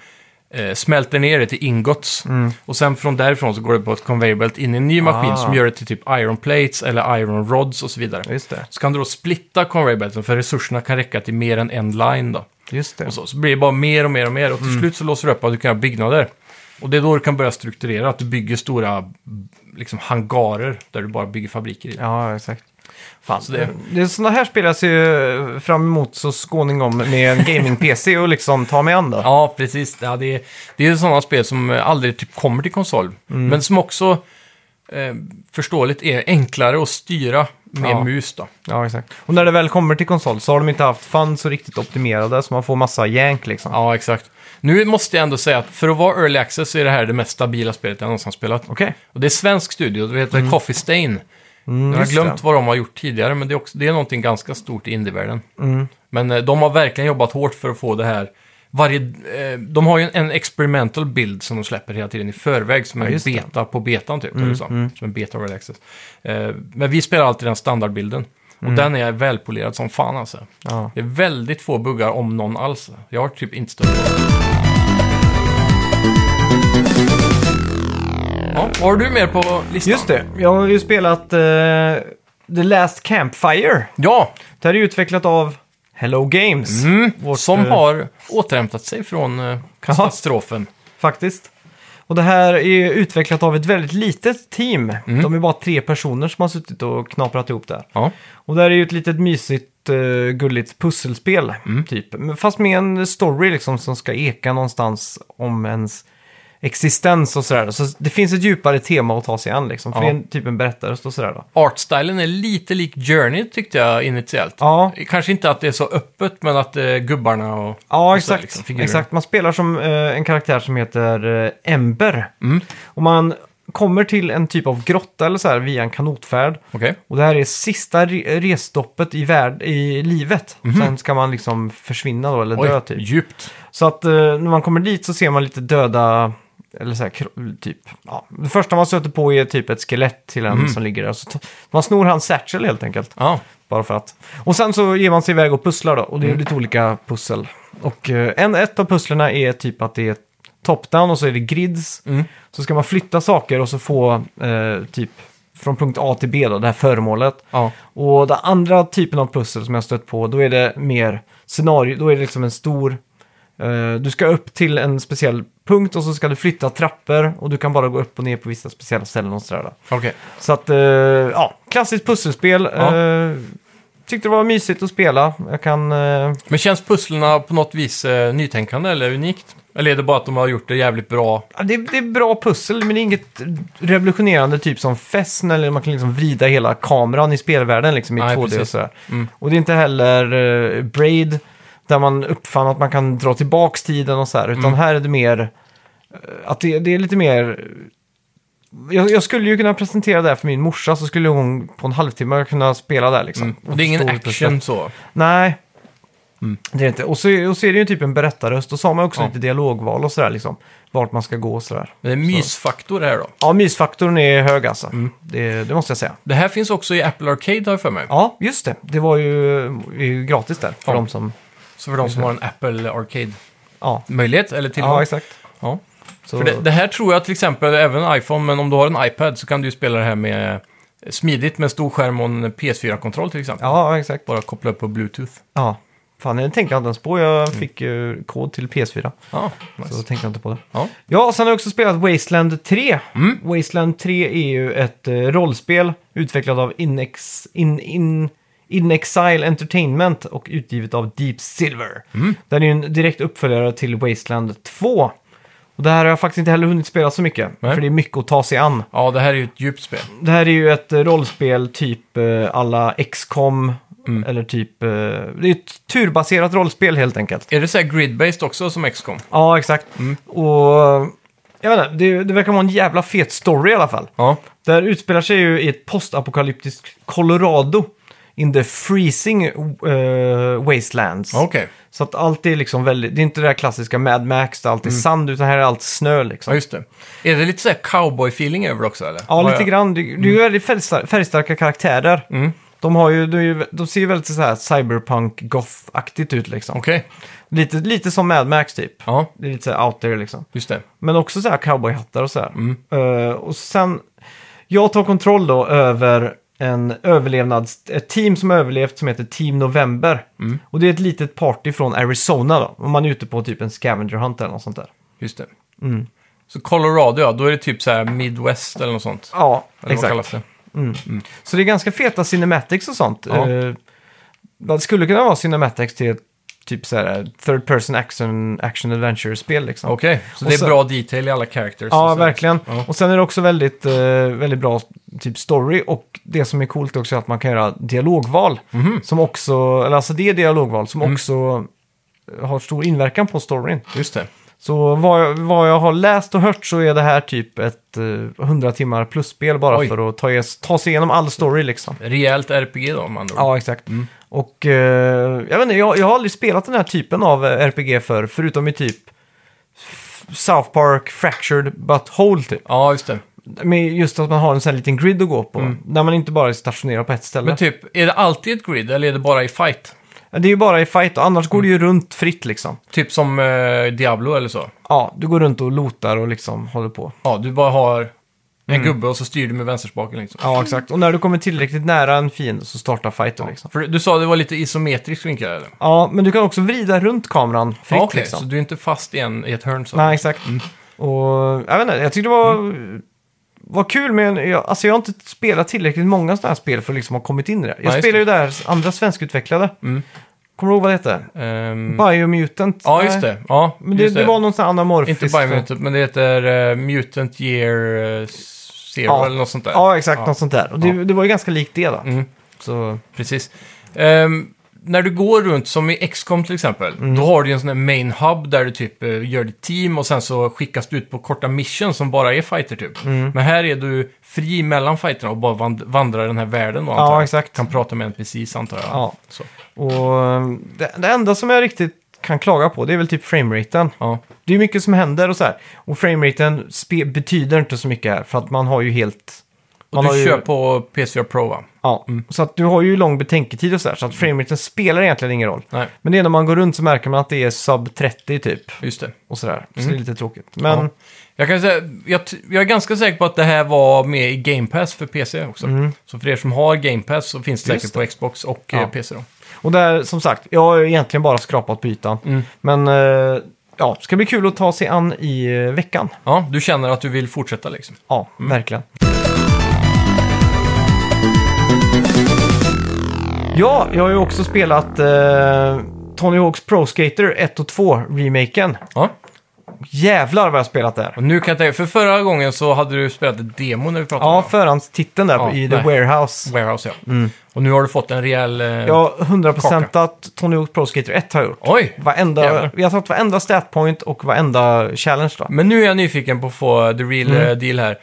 Speaker 2: eh, smälter ner det till ingots. Och sen från därifrån så går det på ett conveyor belt in i en ny maskin
Speaker 1: Mm. Ah.
Speaker 2: som gör det till typ iron plates eller iron rods och så vidare.
Speaker 1: Just det.
Speaker 2: Så kan du då splitta conveyor belten för resurserna kan räcka till mer än en line då.
Speaker 1: Just det.
Speaker 2: Och så, så blir det bara mer och mer och mer och till slut så låser du upp att du kan göra byggnader. Och det är då du kan börja strukturera, att du bygger stora liksom, hangarer där du bara bygger fabriker i.
Speaker 1: Ja, exakt. Fan,
Speaker 2: Så
Speaker 1: det...
Speaker 2: det-
Speaker 1: Det är sådana här spelar jag ser ju fram emot så skåningom med en gaming-PC och liksom ta mig an då.
Speaker 2: Ja, precis. Ja, det, är, det är ju sådana spel som eh, aldrig typ kommer till konsol. Men som också, eh, förståeligt, är enklare att styra med
Speaker 1: Ja.
Speaker 2: mus då.
Speaker 1: Ja, exakt. Och när det väl kommer till konsol så har de inte haft funds så riktigt optimerade så man får massa jank liksom.
Speaker 2: Ja, exakt. Nu måste jag ändå säga att för att vara early access så är det här det mest stabila spelet jag någonsin spelat.
Speaker 1: Okej. Mm,
Speaker 2: Och det är svensk studio, det heter Coffee Stain. jag har
Speaker 1: just
Speaker 2: glömt
Speaker 1: det.
Speaker 2: vad de har gjort tidigare, men det är, också, det är någonting ganska stort i indievärlden.
Speaker 1: Mm.
Speaker 2: Men eh, de har verkligen jobbat hårt för att få det här. Varje, eh, de har ju en, en experimental bild som de släpper hela tiden i förväg, som en
Speaker 1: just det. Mm,
Speaker 2: beta på betan typ. eller så. Som en beta early access. Eh, men vi spelar alltid den standardbilden. Och
Speaker 1: Mm.
Speaker 2: den är välpolerad som fan alltså.
Speaker 1: Ja.
Speaker 2: Det är väldigt få buggar, om någon alls. Jag har typ inte stött på det. Ja, vad har du mer på listan?
Speaker 1: Just det, jag har ju spelat eh, The Last Campfire.
Speaker 2: Ja,
Speaker 1: Det här är utvecklat av Hello Games. Vårt,
Speaker 2: Mm, som
Speaker 1: eh,
Speaker 2: har återhämtat sig från eh, katastrofen.
Speaker 1: Faktiskt. Och det här är utvecklat av ett väldigt litet team.
Speaker 2: Mm.
Speaker 1: De är bara tre personer som har suttit och knaprat ihop det här.
Speaker 2: Ja.
Speaker 1: Och det här är ju ett litet mysigt, eh, gulligt pusselspel.
Speaker 2: Mm.
Speaker 1: Typ. Men Fast med en story liksom som ska eka någonstans om ens existens och sådär. Så det finns ett djupare tema att ta sig an liksom. För
Speaker 2: Ja.
Speaker 1: det är en, typ en berättarröst och sådär då.
Speaker 2: Artstylen är lite lik Journey tyckte jag initiellt.
Speaker 1: Ja.
Speaker 2: Kanske inte att det är så öppet, men att eh, gubbarna och...
Speaker 1: Ja,
Speaker 2: och så,
Speaker 1: exakt.
Speaker 2: liksom, figurerna.
Speaker 1: exakt. Man spelar som eh, en karaktär som heter eh, Ember.
Speaker 2: Mm.
Speaker 1: Och man kommer till en typ av grotta eller så här via en kanotfärd.
Speaker 2: Okej.
Speaker 1: Och det här är sista re- resstoppet i, värld, i livet. Sen ska man liksom försvinna då, eller dö
Speaker 2: Mhm. Oj,
Speaker 1: typ.
Speaker 2: djupt.
Speaker 1: Så att eh, när man kommer dit så ser man lite döda, eller så här, kro- typ. Ja. Det första man stöter på är typ ett skelett till en
Speaker 2: Mhm.
Speaker 1: som ligger där. Så t- man snor hans satchel helt enkelt.
Speaker 2: Ja.
Speaker 1: Bara för att. Och sen så ger man sig iväg och pusslar då. Och det är lite olika pussel. Och eh, en, ett av pusslerna är typ att det är top-down och så är det grids. Så ska man flytta saker och så få eh, typ från punkt A till B då, det här föremålet.
Speaker 2: ja.
Speaker 1: Och den andra typen av pussel som jag har stött på, då är det mer scenario, då är det liksom en stor... eh, du ska upp till en speciell punkt och så ska du flytta trappor och du kan bara gå upp och ner på vissa speciella ställen och sådär. Då.
Speaker 2: Okej.
Speaker 1: Så att, eh, ja, klassiskt pusselspel.
Speaker 2: Ja.
Speaker 1: Eh, tyckte det var mysigt att spela. Jag kan... eh,
Speaker 2: Men känns pusslerna på något vis eh, nytänkande eller unikt? Eller är det bara att de har gjort det jävligt bra?
Speaker 1: ja, det, det är bra pussel, men det är inget revolutionerande typ som Fessen eller man kan liksom vrida hela kameran i spelvärlden liksom i 2D
Speaker 2: Nej,
Speaker 1: och
Speaker 2: precis. Mm.
Speaker 1: sådär. Och det är inte heller eh, Braid, där man uppfann att man kan dra
Speaker 2: Mm.
Speaker 1: tillbaks tiden och så här, utan här är det mer eh, att det, det är lite mer jag, jag skulle ju kunna presentera det här för min morsa så skulle hon på en halvtimme kunna spela där liksom.
Speaker 2: Och Mm. det är ingen
Speaker 1: förstå hur
Speaker 2: action så.
Speaker 1: Nej.
Speaker 2: Mm.
Speaker 1: Det är inte. Och så, och så är det ju typ en berättarröst och så har man också lite dialogval och sådär liksom. Vart man ska gå och sådär.
Speaker 2: Men det är mysfaktor här då.
Speaker 1: Ja, mysfaktorn är hög alltså.
Speaker 2: Mm.
Speaker 1: Det, det måste jag säga.
Speaker 2: Det här finns också i Apple Arcade har jag för mig.
Speaker 1: Ja, just det. Det var ju, är ju gratis där för
Speaker 2: Ja.
Speaker 1: de som...
Speaker 2: Så för de som har en Apple Arcade-möjlighet
Speaker 1: Ja,
Speaker 2: eller tillgång.
Speaker 1: Mm. ja exakt.
Speaker 2: Ja.
Speaker 1: Så,
Speaker 2: För det, det här tror jag till exempel, även iPhone, men om du har en iPad så kan du ju spela det här med smidigt med en stor skärm och en PS4-kontroll till exempel.
Speaker 1: Ja, exakt.
Speaker 2: Bara koppla upp på Bluetooth.
Speaker 1: Ja. Fan, det tänkte jag inte ens på. Jag fick ju kod till PS4.
Speaker 2: Ja,
Speaker 1: Så
Speaker 2: Mm. nice.
Speaker 1: då tänkte jag inte på det.
Speaker 2: ja.
Speaker 1: Ja, och sen har jag också spelat Wasteland 3. Wasteland 3 är ju ett eh, rollspel utvecklat av Inex, in, in, in Exile Entertainment och utgivet av Deep Silver. Den är ju en direkt uppföljare till Wasteland 2. Och det här har jag faktiskt inte heller hunnit spela så mycket,
Speaker 2: Nej.
Speaker 1: för det är mycket att ta sig an.
Speaker 2: ja, det här är ju ett djupt spel.
Speaker 1: Det här är ju ett eh, rollspel typ eh, alla XCOM eller typ... eh, Det är ett turbaserat rollspel helt enkelt.
Speaker 2: Är det så här grid-based också som XCOM?
Speaker 1: Ja, exakt. Och jag vet inte, det, det verkar vara en jävla fet story i alla fall.
Speaker 2: Ja.
Speaker 1: Det här utspelar sig ju i ett postapokalyptiskt Colorado. In the freezing eh, wastelands.
Speaker 2: Okej.
Speaker 1: Så att allt är liksom väldigt, det är inte det där klassiska Mad Max där allt är sand, utan här är allt snö liksom.
Speaker 2: Ja, just det. Är det lite så här cowboy-feeling över också eller?
Speaker 1: Ja,
Speaker 2: Har
Speaker 1: lite
Speaker 2: jag-
Speaker 1: grann. Det, det är ju väldigt färgstar- färgstarka karaktärer. De, har ju, de, är ju, de ser ju väldigt så här cyberpunk-goth-aktigt ut liksom.
Speaker 2: Okej.
Speaker 1: Lite, lite som Mad Max typ.
Speaker 2: Ja,
Speaker 1: Det är lite så här out there liksom.
Speaker 2: just det.
Speaker 1: Men också så här cowboyhattar och så här.
Speaker 2: Mm.
Speaker 1: Eh, och sen, jag tar kontroll då över en överlevnads, ett team som överlevt som heter Team November.
Speaker 2: Mm.
Speaker 1: Och det är ett litet party från Arizona då. Om man är ute på typ en scavenger hunt eller något sånt där.
Speaker 2: Just det.
Speaker 1: Mm.
Speaker 2: Så Colorado, ja, då är det typ så här Midwest eller något sånt.
Speaker 1: Ja,
Speaker 2: Eller vad
Speaker 1: exakt.
Speaker 2: kallas det?
Speaker 1: Så det är ganska feta cinematics och sånt.
Speaker 2: Ja.
Speaker 1: Eh, det skulle kunna vara cinematics till ett typ så här third person action, action adventure-spel liksom.
Speaker 2: Okej, så
Speaker 1: Och
Speaker 2: det är
Speaker 1: sen-
Speaker 2: bra detail i alla characters. och
Speaker 1: Ja,
Speaker 2: så.
Speaker 1: verkligen.
Speaker 2: Ja.
Speaker 1: Och sen är det också väldigt, eh, väldigt bra typ story. Och det som är coolt också är att man kan göra dialogval.
Speaker 2: Mhm.
Speaker 1: Som också, eller alltså det är dialogval
Speaker 2: Mm.
Speaker 1: som också har stor inverkan på storyn.
Speaker 2: Just det.
Speaker 1: Så vad jag, vad jag har läst och hört så är det här typ ett eh, 100 timmar plus-spel bara
Speaker 2: Oj.
Speaker 1: för att ta, ta sig igenom all story liksom.
Speaker 2: Rejält RPG då, om man
Speaker 1: Ja, exakt.
Speaker 2: Mm.
Speaker 1: Och eh, jag vet inte, jag, jag har aldrig spelat den här typen av eh, RPG för förutom i typ F- South Park Fractured But Whole typ.
Speaker 2: ja, just det.
Speaker 1: Men just att man har en sån här liten grid att gå på. Där man inte bara är stationerad på ett ställe.
Speaker 2: Mm. Men typ, är det alltid ett grid eller är det bara i fight?
Speaker 1: Det är ju bara i fight och annars går det
Speaker 2: Mm.
Speaker 1: ju runt fritt liksom.
Speaker 2: Typ som eh, Diablo eller så.
Speaker 1: Ja, du går runt och lotar och liksom håller på.
Speaker 2: Ja, du bara har en
Speaker 1: Mm.
Speaker 2: gubbe och så styr du med vänsterspaken liksom.
Speaker 1: Ja, exakt. Och när du kommer tillräckligt nära en fiende så startar fighten liksom.
Speaker 2: För du sa det var lite isometrisk vinkel eller?
Speaker 1: Ja, men du kan också vrida runt kameran fritt
Speaker 2: Ja, okej,
Speaker 1: liksom.
Speaker 2: så Mm. du är inte fast i, en, i ett hörn så.
Speaker 1: Nej, exakt. Och jag vet inte, jag tyckte det var,
Speaker 2: Mm.
Speaker 1: var kul men jag, alltså jag har inte spelat tillräckligt många sådana här spel för att liksom ha kommit in i det. Jag
Speaker 2: just det. Mm.
Speaker 1: spelar ju där andra svenskutvecklade. Kommer du ihåg vad det hette?
Speaker 2: Ehm,
Speaker 1: Biomutant?
Speaker 2: ja,
Speaker 1: Nej.
Speaker 2: just det. Ja,
Speaker 1: Men det,
Speaker 2: just
Speaker 1: det var någon sån här anamorfisk...
Speaker 2: Inte Biomutant, men det heter eh, Mutant Year eh, Zero
Speaker 1: Ja.
Speaker 2: eller något sånt där.
Speaker 1: Ja, exakt.
Speaker 2: Ja.
Speaker 1: Något sånt där. Och det, det var ju ganska likt det då.
Speaker 2: Mm.
Speaker 1: Så,
Speaker 2: Precis. Ehm, när du går runt, som i XCOM till exempel,
Speaker 1: Mm.
Speaker 2: då har du ju en sån här main hub där du typ eh, gör ditt team och sen så skickas du ut på korta missions som bara är fighter typ.
Speaker 1: Mm.
Speaker 2: Men här är du fri mellan fighterna och bara vand- vandrar den här världen då, antar
Speaker 1: ja,
Speaker 2: jag.
Speaker 1: exakt.
Speaker 2: Kan prata med NPCs antar jag.
Speaker 1: Ja.
Speaker 2: Så.
Speaker 1: Och eh, det, det enda som jag riktigt kan klaga på det är väl typ frameraten.
Speaker 2: ja.
Speaker 1: Det är mycket som händer och så här. Och frameraten spe- betyder inte så mycket här för att man har ju helt...
Speaker 2: Och
Speaker 1: Man har
Speaker 2: du
Speaker 1: ju,
Speaker 2: kör på Mm. PS4 Pro va?
Speaker 1: Ja, så att du har ju lång betänketid och så här. Så att frameraten spelar egentligen ingen roll.
Speaker 2: Nej,
Speaker 1: Men det är när man går runt så märker man att det är sub 30 typ.
Speaker 2: just det.
Speaker 1: Och sådär. Så det är lite tråkigt. Men
Speaker 2: Mm. Ja. Jag, kan säga, jag, t- jag är ganska säker på att det här var med i Game Pass för PC också. Så för er som har Game Pass så finns det
Speaker 1: Mm. Just
Speaker 2: säkert på Xbox och
Speaker 1: Ja.
Speaker 2: eh, PC då.
Speaker 1: Och där, som sagt, jag har ju egentligen bara skrapat på ytan.
Speaker 2: Mm.
Speaker 1: Men eh, ja, ska bli kul att ta sig an i eh, veckan.
Speaker 2: Ja, du känner att du vill fortsätta liksom.
Speaker 1: Ja, verkligen. Ja, jag har ju också spelat eh, Tony Hawks Pro Skater 1 och 2-remaken.
Speaker 2: Ja.
Speaker 1: Jävlar vad jag har spelat där.
Speaker 2: Och nu kan jag tänka, för förra gången så hade du spelat ett demo när vi pratade
Speaker 1: Ja, Mm.
Speaker 2: om det.
Speaker 1: förhandstiteln där
Speaker 2: Ja,
Speaker 1: i The
Speaker 2: nej.
Speaker 1: Warehouse.
Speaker 2: Warehouse ja. Och nu har du fått en rejäl... Eh...
Speaker 1: Jag har 100% att Tony Hawk Pro Skater 1 har jag gjort.
Speaker 2: Oj!
Speaker 1: Varenda,
Speaker 2: Jävlar.
Speaker 1: vi har tagit varenda statpoint och varenda challenge då. Mm.
Speaker 2: Men nu är jag nyfiken på att få the real eh, deal här.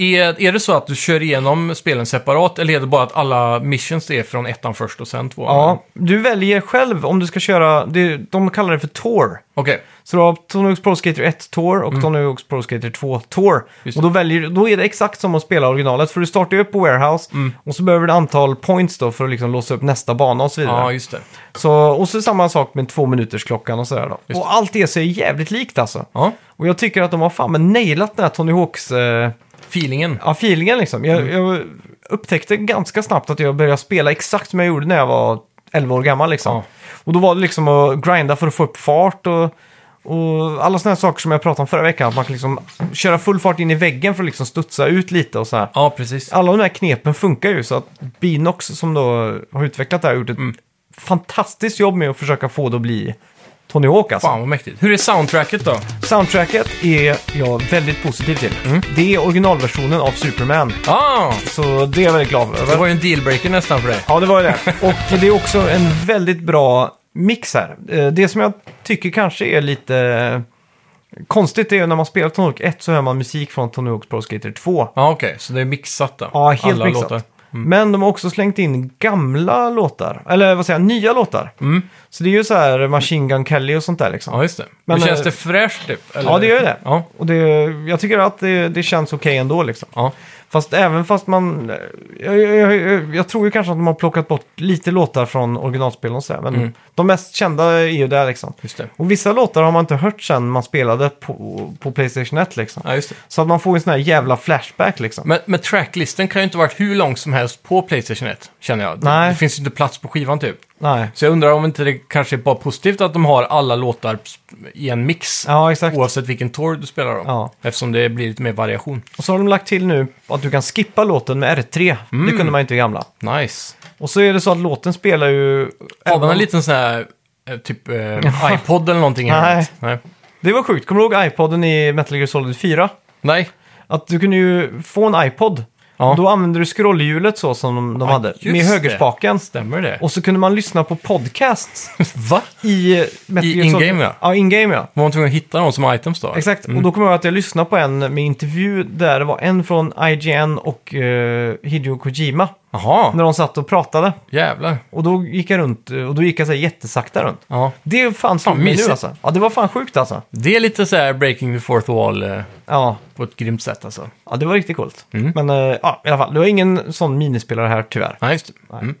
Speaker 2: Är, är det så att du kör igenom spelen separat eller är det bara att alla missions är från ettan först och sen tvåan?
Speaker 1: Ja, du väljer själv om du ska köra, det, de kallar det för Tour.
Speaker 2: Okej,
Speaker 1: Så du har Tony Hawk's Pro Skater 1 Tour och Tony Hawk's Pro Skater 2 Tour.
Speaker 2: Mm. Just
Speaker 1: Och
Speaker 2: det.
Speaker 1: då, väljer, då är det exakt som att spela originalet, för du startar ju upp på Warehouse
Speaker 2: Mm.
Speaker 1: och så behöver du ett antal points då för att liksom låsa upp nästa bana och så vidare.
Speaker 2: ja just det.
Speaker 1: Så, och så samma sak med två minuters klockan och sådär då.
Speaker 2: Just
Speaker 1: Och allt det ser jävligt likt alltså.
Speaker 2: Ja,
Speaker 1: Och jag tycker att de har fan med nailat den här Tony Hawks eh,
Speaker 2: feelingen.
Speaker 1: ja, feelingen liksom. Jag,
Speaker 2: Mm.
Speaker 1: jag upptäckte ganska snabbt att jag började spela exakt som jag gjorde när jag var 11 år gammal liksom.
Speaker 2: Ja.
Speaker 1: Och då var det liksom att grinda för att få upp fart och, och alla sådana saker som jag pratade om förra veckan. Att man kan liksom köra full fart in i väggen för att liksom studsa ut lite och så här.
Speaker 2: Ja, precis.
Speaker 1: Alla de här knepen funkar ju så att Binox som då har utvecklat det här har gjort ett
Speaker 2: Mm.
Speaker 1: fantastiskt jobb med att försöka få det att bli Tony Hawk alltså.
Speaker 2: Fan vad mäktigt. Hur är soundtracket då?
Speaker 1: Soundtracket är jag väldigt positiv till.
Speaker 2: Mm.
Speaker 1: Det är originalversionen av Superman.
Speaker 2: Ah,
Speaker 1: Så det är jag väldigt glad
Speaker 2: det
Speaker 1: över.
Speaker 2: var ju en dealbreaker nästan för dig.
Speaker 1: Ja, det var ju det. Och det är också en väldigt bra mix här. Eh, Det som jag tycker kanske är lite eh, konstigt är ju när man spelar Tony Hawk 1 så hör man musik från Tony Hawks Pro Skater 2.
Speaker 2: Ja, okej. Så det är mixat då?
Speaker 1: Ja, helt
Speaker 2: Alla
Speaker 1: mixat.
Speaker 2: låtar.
Speaker 1: Men de har också slängt in gamla låtar, eller vad säger jag, nya låtar. Så det är ju så här Machine Gun Kelly och sånt där liksom.
Speaker 2: Mm. Ja, just det.
Speaker 1: Men,
Speaker 2: Men känns
Speaker 1: eh,
Speaker 2: det fräscht typ? Eller?
Speaker 1: Ja, det gör det.
Speaker 2: Ja,
Speaker 1: Och det, jag tycker att det, det känns okej ändå liksom.
Speaker 2: ja.
Speaker 1: Fast även fast man... eh, Jag, jag, jag, jag tror ju kanske att de har plockat bort lite låtar från originalspelen och sådär. Men de mest kända är ju där liksom.
Speaker 2: Mm. just det.
Speaker 1: Och vissa låtar har man inte hört sen man spelade på, på Playstation 1 liksom.
Speaker 2: Ja, just det.
Speaker 1: Så att man får en sån här jävla flashback liksom.
Speaker 2: Men, men tracklisten kan ju inte varit hur lång som helst på Playstation 1, känner jag. Det-
Speaker 1: Nej.
Speaker 2: Det finns ju inte plats på skivan typ.
Speaker 1: Nej.
Speaker 2: Så jag undrar om inte det kanske är bara positivt att de har alla låtar i en mix.
Speaker 1: Ja, exakt.
Speaker 2: Oavsett vilken tour du spelar om.
Speaker 1: Ja.
Speaker 2: Eftersom det blir lite mer variation.
Speaker 1: Och så har de lagt till nu att du kan skippa låten med R3. Det
Speaker 2: Mm.
Speaker 1: kunde man ju inte i gamla.
Speaker 2: Nice.
Speaker 1: Och så är det så att låten spelar ju...
Speaker 2: Har man en liten sån här, eh, typ eh, iPod eller någonting? i
Speaker 1: Nej.
Speaker 2: hemmet? Nej.
Speaker 1: Det var sjukt. Kommer du ihåg iPoden i Metal Gear Solid 4?
Speaker 2: Nej.
Speaker 1: Att du kunde ju få en iPod.
Speaker 2: Ja.
Speaker 1: Då använde du scrollhjulet så som de, de
Speaker 2: Ja,
Speaker 1: hade.
Speaker 2: just
Speaker 1: Med högerspaken.
Speaker 2: Stämmer det?
Speaker 1: Och så kunde man lyssna på podcasts
Speaker 2: Va?
Speaker 1: i... Metal
Speaker 2: I
Speaker 1: Gear Solid-
Speaker 2: in-game, ja. Mm.
Speaker 1: Ja, in-game ja.
Speaker 2: Var man tvungen att hitta någon som items då?
Speaker 1: Exakt, och då kommer jag ihåg att jag lyssnade på en med intervju där det var en från IGN och eh, Hideo Kojima.
Speaker 2: Jaha,
Speaker 1: När de satt och pratade.
Speaker 2: jävlar.
Speaker 1: Och då gick jag runt eh, och då gick jag så här jättesakta runt.
Speaker 2: Ja.
Speaker 1: Det fanns fan mig nu
Speaker 2: mysigt.
Speaker 1: alltså. Ja, det var fan sjukt alltså.
Speaker 2: Det är lite så här breaking the fourth wall eh,
Speaker 1: Ja,
Speaker 2: på ett grymt sätt alltså.
Speaker 1: ja det var riktigt coolt.
Speaker 2: Mm.
Speaker 1: Men eh, ja, i alla fall, det var ingen sån minispelare här tyvärr.
Speaker 2: Nej, just det. Mm.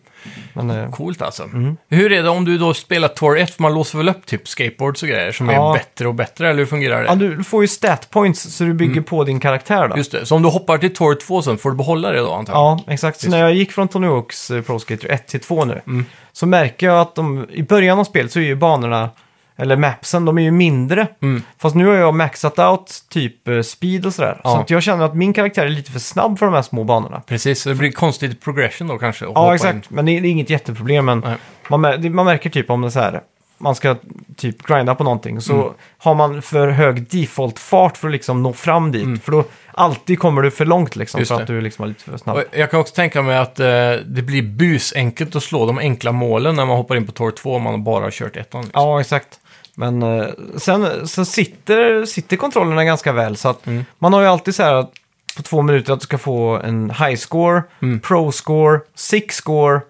Speaker 1: Men, eh,
Speaker 2: Coolt alltså. Hur är det om du då spelar Tor 1? För man låser väl upp typ skateboards och grejer som
Speaker 1: Ja.
Speaker 2: är bättre och bättre, eller hur fungerar det?
Speaker 1: ja, du får ju stat points så du bygger på din karaktär då.
Speaker 2: Mm. Just det, så om du hoppar till Tor 2 sen får du behålla det då antagligen?
Speaker 1: Ja, exakt. Så när jag gick från Tony Hawks eh, Pro Skater 1 till 2 nu,
Speaker 2: Mm.
Speaker 1: så märker jag att de, i början av spelet så är ju banorna, eller mapsen, de är ju mindre.
Speaker 2: Mm.
Speaker 1: Fast nu har jag maxat out typ eh, speed och sådär. Så
Speaker 2: Ja.
Speaker 1: att jag känner att min karaktär är lite för snabb för de här små banorna.
Speaker 2: Precis, så det blir konstigt progression då kanske. att
Speaker 1: Ja,
Speaker 2: hoppa in.
Speaker 1: exakt. Men det är, det är inget jätteproblem. Men
Speaker 2: Nej.
Speaker 1: man, mär, det- man märker typ om det är så här, man ska typ grinda på någonting, så
Speaker 2: Mm.
Speaker 1: har man för hög default-fart för att liksom nå fram dit. För då alltid kommer du för långt liksom,
Speaker 2: Mm. Just
Speaker 1: för
Speaker 2: det.
Speaker 1: att du liksom är lite för snabb.
Speaker 2: Och jag kan också tänka mig att eh, det blir busenkelt att slå de enkla målen när man hoppar in på Tor 2 om man bara har kört ettan. Liksom.
Speaker 1: Ja, exakt. Men eh, sen så sitter, sitter kontrollerna ganska väl. Så att
Speaker 2: Mm.
Speaker 1: man har ju alltid så här att på två minuter att du ska få en high score,
Speaker 2: Mm.
Speaker 1: pro score, six score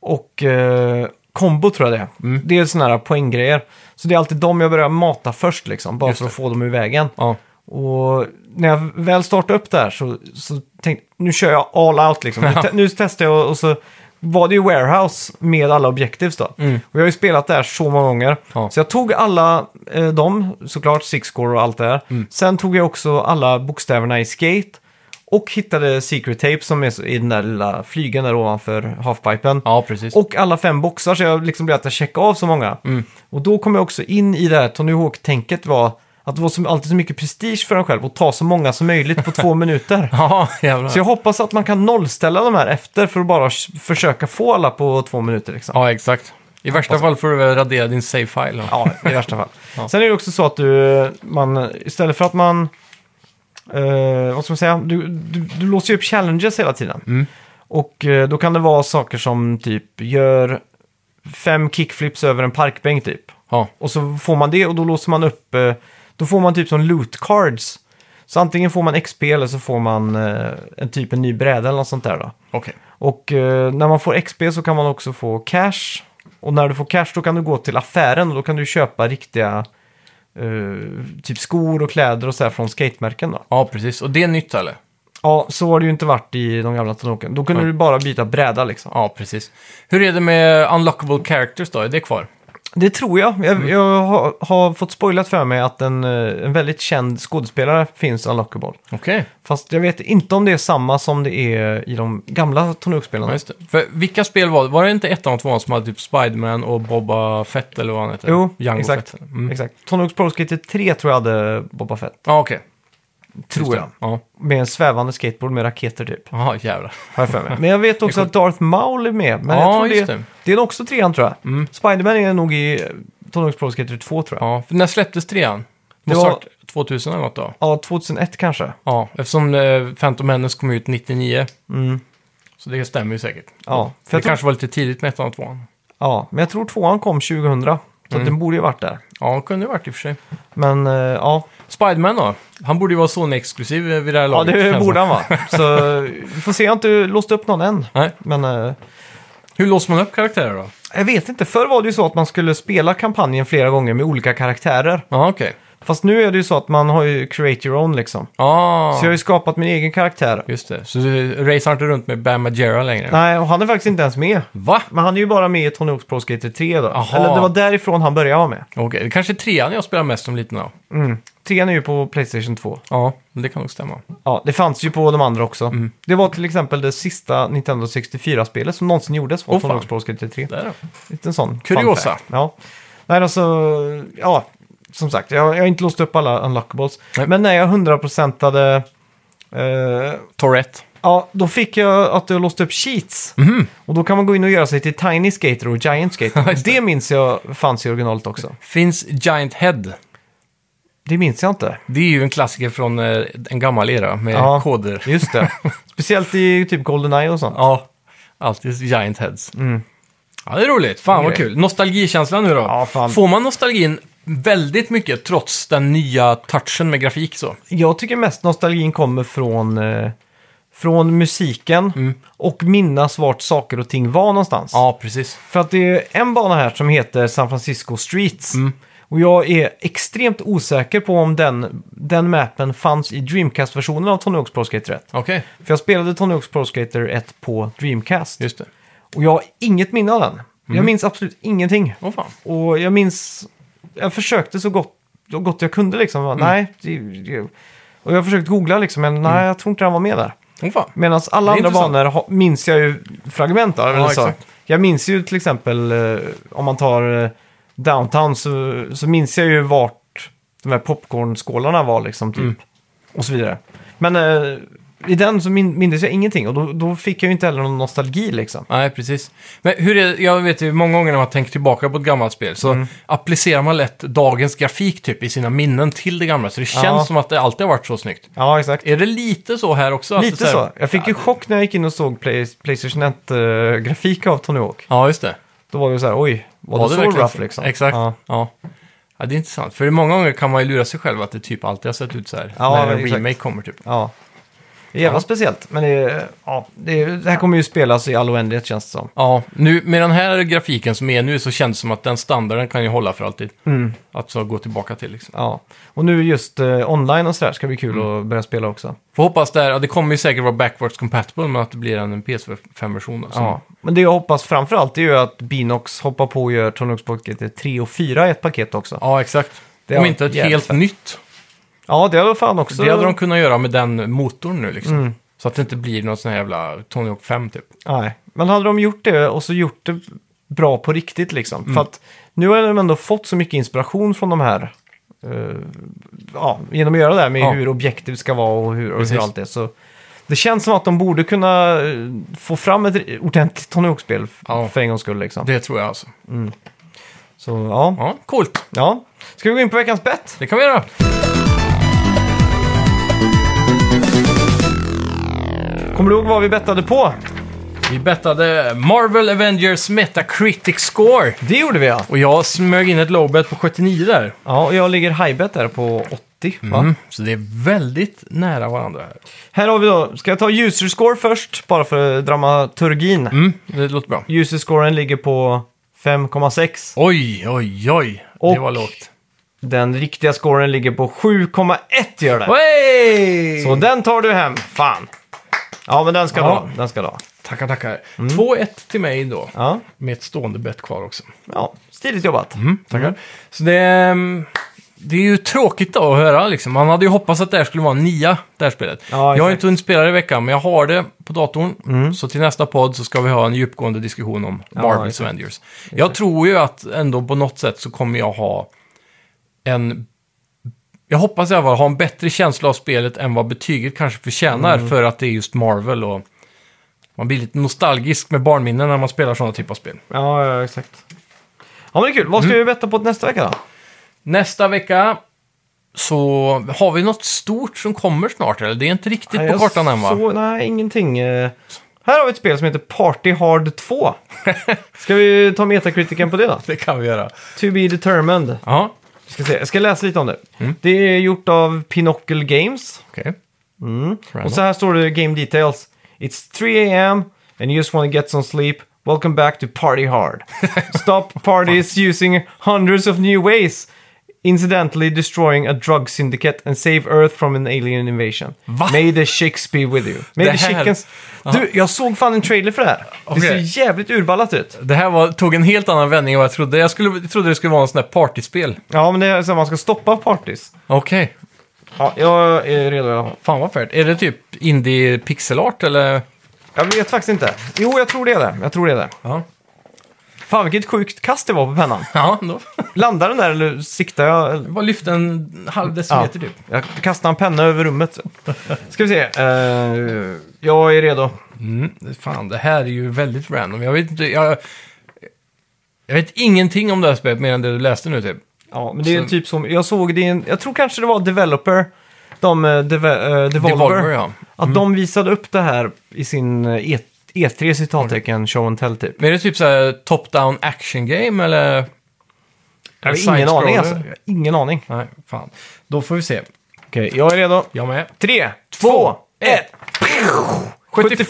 Speaker 1: och eh, combo tror jag det är.
Speaker 2: Mm.
Speaker 1: Det är sådana här poänggrejer. Så det är alltid de jag börjar mata först liksom, bara
Speaker 2: Just
Speaker 1: för att
Speaker 2: det.
Speaker 1: få dem ur vägen.
Speaker 2: Ja.
Speaker 1: Och när jag väl startade upp där så, så tänkte jag, nu kör jag all out liksom. Nu, te- nu testar jag och så var det ju warehouse med alla objectives då. Och jag har ju spelat där så många gånger.
Speaker 2: Ja.
Speaker 1: Så jag tog alla eh, dem, såklart six score och allt det där. Sen tog jag också alla bokstäverna i skate. Och hittade secret tape som är så- i den där lilla flygen där ovanför halfpipen.
Speaker 2: ja, precis.
Speaker 1: Och alla fem boxar, så jag liksom blev att jag checkade av så många. Och då kom jag också in i det här Tony Hawk-tänket var att det var så, alltid så mycket prestige för en själv att ta så många som möjligt på två minuter.
Speaker 2: Ja, jävlar.
Speaker 1: Så jag hoppas att man kan nollställa de här efter för att bara s- försöka få alla på två minuter. Liksom.
Speaker 2: Ja, exakt. I värsta fall får du väl radera din save-file. då.
Speaker 1: Ja, i värsta fall.
Speaker 2: Ja.
Speaker 1: Sen är det också så att du, man, istället för att man, eh, vad ska man säga, du, du, du låser ju upp challenges hela tiden. Och eh, då kan det vara saker som typ gör fem kickflips över en parkbänk typ.
Speaker 2: Ja.
Speaker 1: Och så får man det och då låser man upp, eh, då får man typ som loot cards. Så antingen får man XP eller så får man eh, en typ en ny bräda eller något sånt där då.
Speaker 2: Okej.
Speaker 1: Och eh, när man får XP så kan man också få cash. Och när du får cash då kan du gå till affären och då kan du köpa riktiga eh, typ skor och kläder och så här från skatemärken då.
Speaker 2: Ja, precis. Och det är nytt eller?
Speaker 1: Ja, så har det ju inte varit i de gamla Tanoken. Då kunde
Speaker 2: Nej.
Speaker 1: du bara byta bräda liksom.
Speaker 2: Ja, precis. Hur är det med unlockable characters då? Är det kvar?
Speaker 1: Det tror jag. Jag, jag har, har fått spoilat för mig att en, eh, en väldigt känd skådespelare finns i Unlockable.
Speaker 2: Okej.
Speaker 1: Fast jag vet inte om det är samma som det är i de gamla
Speaker 2: Ja,
Speaker 1: Tanoke-spelarna.
Speaker 2: just det. För vilka spel var det? Var det inte ettan och tvåan som hade typ Spiderman och Boba Fett eller vad han heter?
Speaker 1: Jo,
Speaker 2: Jango
Speaker 1: exakt.
Speaker 2: Fett. Mm.
Speaker 1: Exakt. Tanoke Pro Skater 3 tror jag hade Boba Fett.
Speaker 2: Ja, okej. Just
Speaker 1: Tror
Speaker 2: det.
Speaker 1: jag.
Speaker 2: Ja.
Speaker 1: Med en svävande skateboard med raketer typ.
Speaker 2: Jaha, jävlar.
Speaker 1: Har jag för mig. Men jag vet också att Darth Maul är med. Men
Speaker 2: Ja,
Speaker 1: jag tror
Speaker 2: just
Speaker 1: det,
Speaker 2: det. Mm.
Speaker 1: det. är nog också trean tror jag. Spiderman är nog i eh, Tanoke Pro Skater 2 tror jag.
Speaker 2: Ja, för när släpptes trean? Det
Speaker 1: Det
Speaker 2: var
Speaker 1: var-
Speaker 2: snart 2000 eller något då?
Speaker 1: Ja, 2001 kanske.
Speaker 2: Ja, eftersom eh, Phantom Menace kom ut 99. Så det stämmer ju säkert.
Speaker 1: Ja,
Speaker 2: Mm. Det
Speaker 1: Mm. för jag tror-
Speaker 2: kanske var lite tidigt med ettan och tvåan.
Speaker 1: Ja, men jag tror tvåan kom 2000. Så
Speaker 2: Mm.
Speaker 1: att den borde ju varit där.
Speaker 2: Ja, det kunde det varit i och för sig.
Speaker 1: Men eh, ja,
Speaker 2: Spiderman då? Han borde ju vara Sony-exklusiv eh, vid det här
Speaker 1: ja
Speaker 2: laget.
Speaker 1: det
Speaker 2: känns
Speaker 1: borde han
Speaker 2: som.
Speaker 1: vara. Så vi får se, jag har inte låst upp någon än.
Speaker 2: Nej.
Speaker 1: Men eh,
Speaker 2: Hur låser man upp karaktärer då?
Speaker 1: jag vet inte, förr var det ju så att man skulle spela kampanjen flera gånger med olika karaktärer.
Speaker 2: Ja, okej.
Speaker 1: Fast nu är det ju så att man har ju create your own liksom.
Speaker 2: Ah,
Speaker 1: Så jag har ju skapat min egen karaktär.
Speaker 2: just det. Så du racear inte runt med Bam Majera längre?
Speaker 1: Nej, och han är faktiskt inte ens med.
Speaker 2: Va?
Speaker 1: Men han är ju bara med i Tony Hawk's Pro Skater 3 då.
Speaker 2: Aha.
Speaker 1: Eller det var därifrån han började vara med.
Speaker 2: Okej, det kanske är trean jag spelar mest som liten då.
Speaker 1: Mm. Trean är ju på Playstation 2.
Speaker 2: Ja, men det kan nog stämma.
Speaker 1: Ja, det fanns ju på de andra också.
Speaker 2: Mm.
Speaker 1: Det var till exempel det sista Nintendo 64-spelet som någonsin gjordes
Speaker 2: Åh,
Speaker 1: från
Speaker 2: fan.
Speaker 1: Tony Hawk's Pro Skater 3.
Speaker 2: Där då.
Speaker 1: Liten sån.
Speaker 2: Kuriosa.
Speaker 1: fun fact. Ja. Nej, alltså, ja, som sagt, jag, jag har inte låst upp alla unlockables.
Speaker 2: Nej.
Speaker 1: Men när jag hundraprocentade, eh,
Speaker 2: Tourette.
Speaker 1: ja, då fick jag att jag låste upp cheats.
Speaker 2: Mhm.
Speaker 1: Och då kan man gå in och göra sig till Tiny Skater och Giant Skater. det minns jag fanns i originalet också.
Speaker 2: Finns Giant Head.
Speaker 1: Det minns jag inte.
Speaker 2: Det är ju en klassiker från eh, en gammal era med
Speaker 1: Ja.
Speaker 2: koder.
Speaker 1: Just det. Speciellt i typ Goldeneye och sånt.
Speaker 2: Ja, Mm. alltid Giant Heads. Ja, det är roligt. Fan vad
Speaker 1: Grej.
Speaker 2: kul. Nostalgikänsla nu då.
Speaker 1: Ja, fan.
Speaker 2: Får man nostalgin väldigt mycket trots den nya touchen med grafik så?
Speaker 1: Jag tycker mest nostalgin kommer från, eh, från musiken och minnas vart saker och ting var någonstans.
Speaker 2: Mm. Ja, precis.
Speaker 1: För att det är en bana här som heter San Francisco Streets.
Speaker 2: Mm.
Speaker 1: Och jag är extremt osäker på om den, den mappen fanns i Dreamcast-versionen av Tony Hawk's Pro Skater 1.
Speaker 2: Okej,
Speaker 1: För jag spelade Tony Hawk's Pro Skater 1 på Dreamcast.
Speaker 2: just det.
Speaker 1: Och jag har inget minne av den. Jag minns absolut ingenting.
Speaker 2: Åh fan.
Speaker 1: Och jag minns, jag försökte så gott, så gott jag kunde liksom. Jag Bara, Nej, det, det. Och jag försökte googla liksom, men nej, jag tror inte han var med där.
Speaker 2: Åh fan.
Speaker 1: Medan alla
Speaker 2: Det är
Speaker 1: andra
Speaker 2: intressant.
Speaker 1: banor ha- minns jag ju fragment av. eller så.
Speaker 2: exakt.
Speaker 1: Jag minns ju till exempel, eh, om man tar eh, Downtown, så, så minns jag ju vart de här popcornskålarna var liksom, typ.
Speaker 2: Mm.
Speaker 1: Och så vidare. Men eh, i den så min- minns jag ingenting och då, då fick jag ju inte heller någon nostalgi liksom.
Speaker 2: Nej, precis. Men hur är, jag vet ju många gånger när man tänker tillbaka på ett gammalt spel så
Speaker 1: Mm.
Speaker 2: applicerar man lätt dagens grafik typ i sina minnen till det gamla. Så det känns
Speaker 1: Ja.
Speaker 2: som att det alltid har varit så snyggt.
Speaker 1: Ja, exakt.
Speaker 2: Är det lite så här också? Att det
Speaker 1: Lite så.
Speaker 2: här-
Speaker 1: Jag fick ju chock när jag gick in och såg Play, Playstation 1-grafik av Tony Hawk.
Speaker 2: Ja, just det.
Speaker 1: Då var det så här, oj, var det, så
Speaker 2: verkligen
Speaker 1: rough
Speaker 2: så?
Speaker 1: liksom?
Speaker 2: Exakt.
Speaker 1: Ja.
Speaker 2: Ja. Ja. det är intressant. För många gånger kan man ju lura sig själv att det typ alltid har sett ut så här.
Speaker 1: Ja,
Speaker 2: när en
Speaker 1: men exakt.
Speaker 2: remake kommer typ.
Speaker 1: ja. Det är jävla
Speaker 2: Ja.
Speaker 1: speciellt, men det, är- ja, det, är- det här kommer ju spelas i all oändlighet känns det som.
Speaker 2: Ja, nu, med den här grafiken som är nu så känns det som att den standarden kan ju hålla för alltid.
Speaker 1: Mm.
Speaker 2: Att så gå tillbaka till liksom.
Speaker 1: Ja. Och nu just eh, online och sådär ska bli
Speaker 2: Mm.
Speaker 1: kul att börja spela också.
Speaker 2: Får hoppas det här, ja, det kommer ju säkert vara backwards compatible men att det blir en PS5-version då. som-
Speaker 1: Ja. Men det jag hoppas framför allt är ju att Binox hoppar på och gör Tony Hawk's Pro Skater 3 och 4 i ett paket också. Ja,
Speaker 2: ja, exakt.
Speaker 1: Det
Speaker 2: Om
Speaker 1: har
Speaker 2: inte ett
Speaker 1: jävligt
Speaker 2: helt
Speaker 1: fett.
Speaker 2: nytt.
Speaker 1: det hade fan också...
Speaker 2: Det hade de kunnat göra med den motorn nu liksom.
Speaker 1: Mm.
Speaker 2: Så att det inte blir någon sån här jävla Tony Hawk 5 typ.
Speaker 1: Nej, men hade de gjort det och så gjort det bra på riktigt liksom.
Speaker 2: Mm.
Speaker 1: För att nu har de ändå fått så mycket inspiration från de här. eh, ja, genom att göra det här med
Speaker 2: Ja.
Speaker 1: hur objektiv ska vara och hur, och
Speaker 2: Precis.
Speaker 1: hur allt det. Så det känns som att de borde kunna eh, få fram ett ri- ordentligt Tony Hawk-spel f-
Speaker 2: Ja.
Speaker 1: för en gångs skull liksom.
Speaker 2: Det tror jag alltså.
Speaker 1: Så ja.
Speaker 2: Ja, coolt.
Speaker 1: ja. Ska vi gå in på veckans bett?
Speaker 2: Det kan vi göra.
Speaker 1: Kommer du ihåg vad vi bettade på?
Speaker 2: Vi bettade Marvel Avengers Metacritic Score.
Speaker 1: Det gjorde vi ja.
Speaker 2: Och jag smög in ett lowbet på 79 där.
Speaker 1: Ja, och jag ligger high bet där på 80. 30. Va?
Speaker 2: Mm, så det är väldigt nära varandra här.
Speaker 1: Här har vi då, ska jag ta user score först, bara för dramaturgin.
Speaker 2: Mm, det låter bra.
Speaker 1: User scoren ligger på 5,6.
Speaker 2: Oj, oj, oj.
Speaker 1: Och-
Speaker 2: Det var lågt.
Speaker 1: Den riktiga scoren ligger på 7,1 gör det.
Speaker 2: Oj!
Speaker 1: Så den tar du hem, fan. Ja, men den ska du
Speaker 2: Ja.
Speaker 1: ha. Den ska du ha.
Speaker 2: Tackar, tackar. 2-1 till mig då.
Speaker 1: Ja,
Speaker 2: Med ett stående bett kvar också.
Speaker 1: ja. stiligt jobbat.
Speaker 2: Tackar. Så det, ehm, det är ju tråkigt då att höra liksom. Man hade ju hoppats att det här skulle vara en nia, det här spelet.
Speaker 1: Ja,
Speaker 2: jag har
Speaker 1: exakt. Mm.
Speaker 2: inte hunnit spela det i veckan, men jag har det på datorn. Så till nästa podd så ska vi ha en djupgående diskussion om Marvels
Speaker 1: exakt.
Speaker 2: Avengers. Jag tror ju att ändå på något sätt så kommer jag ha en... Jag hoppas i alla fall ha en bättre känsla av spelet än vad betyget kanske förtjänar
Speaker 1: Mm.
Speaker 2: för att det är just Marvel och... Man blir lite nostalgisk med barnminnen när man spelar sådana typer av spel.
Speaker 1: Ja, ja, exakt. Ja, men det är kul. Vad
Speaker 2: Mm.
Speaker 1: ska vi betta på nästa vecka då?
Speaker 2: Nästa vecka så har vi något stort som kommer snart, eller? Det är inte riktigt
Speaker 1: Nej,
Speaker 2: på
Speaker 1: jag
Speaker 2: kartan än, va?
Speaker 1: Så, nej, ingenting. Eh, Här har vi ett spel som heter Party Hard 2. Ska vi ta metakritiken på det då?
Speaker 2: Det kan vi göra.
Speaker 1: To be determined.
Speaker 2: Ja,
Speaker 1: Vi Ska se. Jag ska läsa lite om det.
Speaker 2: Mm.
Speaker 1: Det är gjort av Pinocchio Games.
Speaker 2: okej. Random.
Speaker 1: Och så här står det Game Details. It's 3 a.m. and you just want to get some sleep. Welcome back to Party Hard. Stop parties using hundreds of new ways. Incidentally destroying a drug syndicate and save Earth from an alien invasion.
Speaker 2: Va?
Speaker 1: May the chicks be with you. May
Speaker 2: Det
Speaker 1: the
Speaker 2: här-
Speaker 1: chickens... Du, jag såg fan en trailer för det här. Det
Speaker 2: Okej.
Speaker 1: ser jävligt urballat ut.
Speaker 2: Det här var, tog en helt annan vändning än vad jag trodde. Jag, skulle, jag trodde det skulle vara en sån där partyspel.
Speaker 1: Ja, men det är så här, man ska stoppa parties.
Speaker 2: Okej,
Speaker 1: Ja, jag är redo i alla fall.
Speaker 2: fan vad färdigt. Är det typ indie pixelart, eller?
Speaker 1: Jag vet faktiskt inte. Jo, jag tror det är det. Jag tror det är det.
Speaker 2: Ja,
Speaker 1: Fan, vilket sjukt kast det var på pennan.
Speaker 2: ja då.
Speaker 1: Landar den där eller siktar jag? eller-
Speaker 2: Jag bara lyfte en halv decimeter typ.
Speaker 1: Jag kastar en penna över rummet. Ska vi se. Eh, jag är redo.
Speaker 2: Mm, fan, det här är ju väldigt random. Jag vet inte, jag... Jag vet ingenting om det här spelet mer än det du läste nu typ.
Speaker 1: Ja, men det är
Speaker 2: Så-
Speaker 1: typ som... Jag såg det i en... Jag tror kanske det var Developer. De, eh, deve, eh, Devolver.
Speaker 2: Devolver, ja. Mm.
Speaker 1: Att de visade upp det här i sin eh, E- E3
Speaker 2: Mm.
Speaker 1: citattecken show and tell typ.
Speaker 2: Men är det typ så här top-down action game eller?
Speaker 1: Jag
Speaker 2: eller
Speaker 1: har ingen
Speaker 2: side-scroller?
Speaker 1: aning alltså. Jag har ingen aning.
Speaker 2: Nej, fan. Då får vi se.
Speaker 1: Okej, jag är redo.
Speaker 2: Jag med.
Speaker 1: Tre, två, ett.
Speaker 2: 70...
Speaker 1: 75.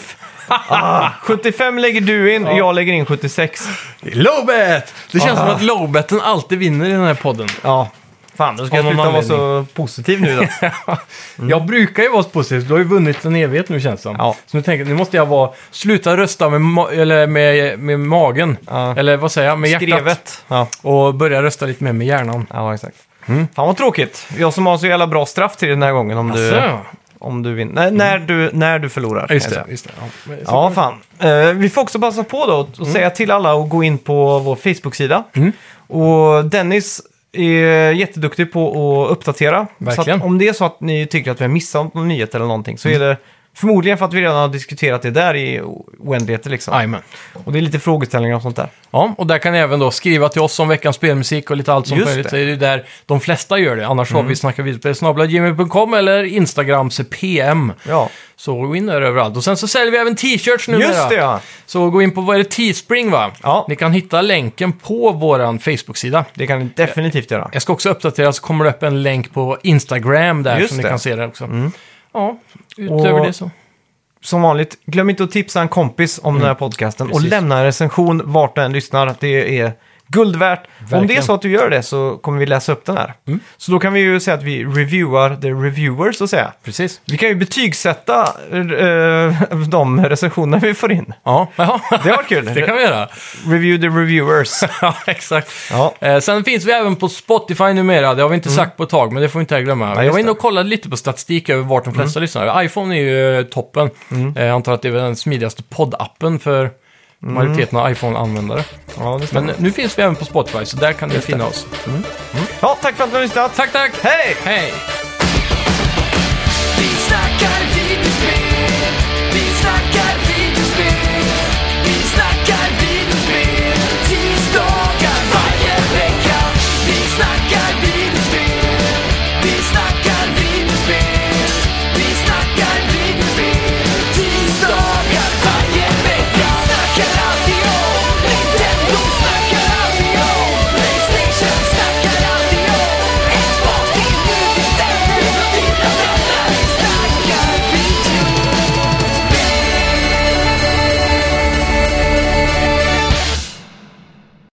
Speaker 1: Ah, 75 lägger du in, jag lägger in 76.
Speaker 2: Lowbet! Det känns som att lowbeten alltid vinner i den här podden.
Speaker 1: Ja, fan då ska
Speaker 2: Av
Speaker 1: jag
Speaker 2: någon
Speaker 1: sluta vara så positiv nu då.
Speaker 2: Mm. Jag brukar ju vara så positiv, du har ju vunnit en evighet nu känns det som.
Speaker 1: Ja.
Speaker 2: Så nu tänker jag, nu måste jag vara... Sluta rösta med, ma- eller med, med magen.
Speaker 1: Ja.
Speaker 2: Eller vad säger jag? Med hjärtat.
Speaker 1: Skrevet. Ja.
Speaker 2: Och börja rösta lite mer med hjärnan.
Speaker 1: Ja, exakt.
Speaker 2: Mm.
Speaker 1: Fan vad tråkigt. Jag som har så jävla bra straff till den här gången om du,
Speaker 2: Asså.
Speaker 1: om du vinner. Nej, när, du, när du förlorar.
Speaker 2: Just
Speaker 1: kan jag
Speaker 2: det.
Speaker 1: säga.
Speaker 2: Just det. Ja. men-
Speaker 1: Ja, fan. Eh, vi får också passa på då
Speaker 2: Mm.
Speaker 1: att säga till alla att gå in på vår Facebook-sida. Och Dennis är jätteduktig på att uppdatera.
Speaker 2: Verkligen.
Speaker 1: Så
Speaker 2: Mm.
Speaker 1: att om det är så att ni tycker att vi har missat någon nyhet eller någonting så är det förmodligen för att vi redan har diskuterat det där i oändligheter liksom.
Speaker 2: Jajamän.
Speaker 1: Och det är lite frågeställningar och sånt där.
Speaker 2: Ja, och där kan ni även då skriva till oss om veckans spelmusik och lite allt som
Speaker 1: Just
Speaker 2: möjligt.
Speaker 1: det. Mm.
Speaker 2: Det är ju där de flesta gör det. Annars har vi snacka vidare.gmail.com eller Instagrams PM.
Speaker 1: Ja,
Speaker 2: Så gå in där överallt. Och sen så säljer vi även t-shirts nu.
Speaker 1: just det ja.
Speaker 2: Så gå in på, vad är det, Teespring va?
Speaker 1: Ja.
Speaker 2: Ni kan hitta länken på våran Facebook-sida.
Speaker 1: Det kan ni definitivt göra.
Speaker 2: Jag ska också uppdatera så kommer det upp en länk på Instagram där
Speaker 1: Just
Speaker 2: som
Speaker 1: det. Mm.
Speaker 2: ni kan se där också. Ja, utöver
Speaker 1: Och-
Speaker 2: det så.
Speaker 1: som vanligt, glöm inte att tipsa en kompis om den här podcasten och
Speaker 2: Mm. Precis.
Speaker 1: lämna en recension vart du än lyssnar. Det är guld värt. Om det är
Speaker 2: Verkligen. Mm.
Speaker 1: så att du gör det så kommer vi läsa upp den här. Så då kan vi ju säga att vi reviewar the reviewers så att säga.
Speaker 2: Precis.
Speaker 1: Vi kan ju betygsätta eh, de recensioner vi får in.
Speaker 2: Ja, ja.
Speaker 1: Det var kul.
Speaker 2: det kan vi göra.
Speaker 1: Review the reviewers.
Speaker 2: ja, exakt.
Speaker 1: Ja. Mm.
Speaker 2: Eh, sen finns vi även på Spotify numera. Det har vi inte sagt på ett tag, men det får vi inte glömma. jag
Speaker 1: just
Speaker 2: var inne
Speaker 1: det. Mm.
Speaker 2: och kollade lite på statistik över vart de flesta lyssnar. iPhone är ju eh, toppen. Eh, jag antar att det är väl den smidigaste poddappen för
Speaker 1: Mm.
Speaker 2: majoriteten av iPhone-användare.
Speaker 1: Ja, det
Speaker 2: Men
Speaker 1: stämmer.
Speaker 2: eh, nu finns vi även på Spotify, så där kan ni finna oss.
Speaker 1: Ja, tack för att ni har lyssnat.
Speaker 2: Tack, tack!
Speaker 1: Hej!
Speaker 2: Hej!
Speaker 3: Vi snackar videospel,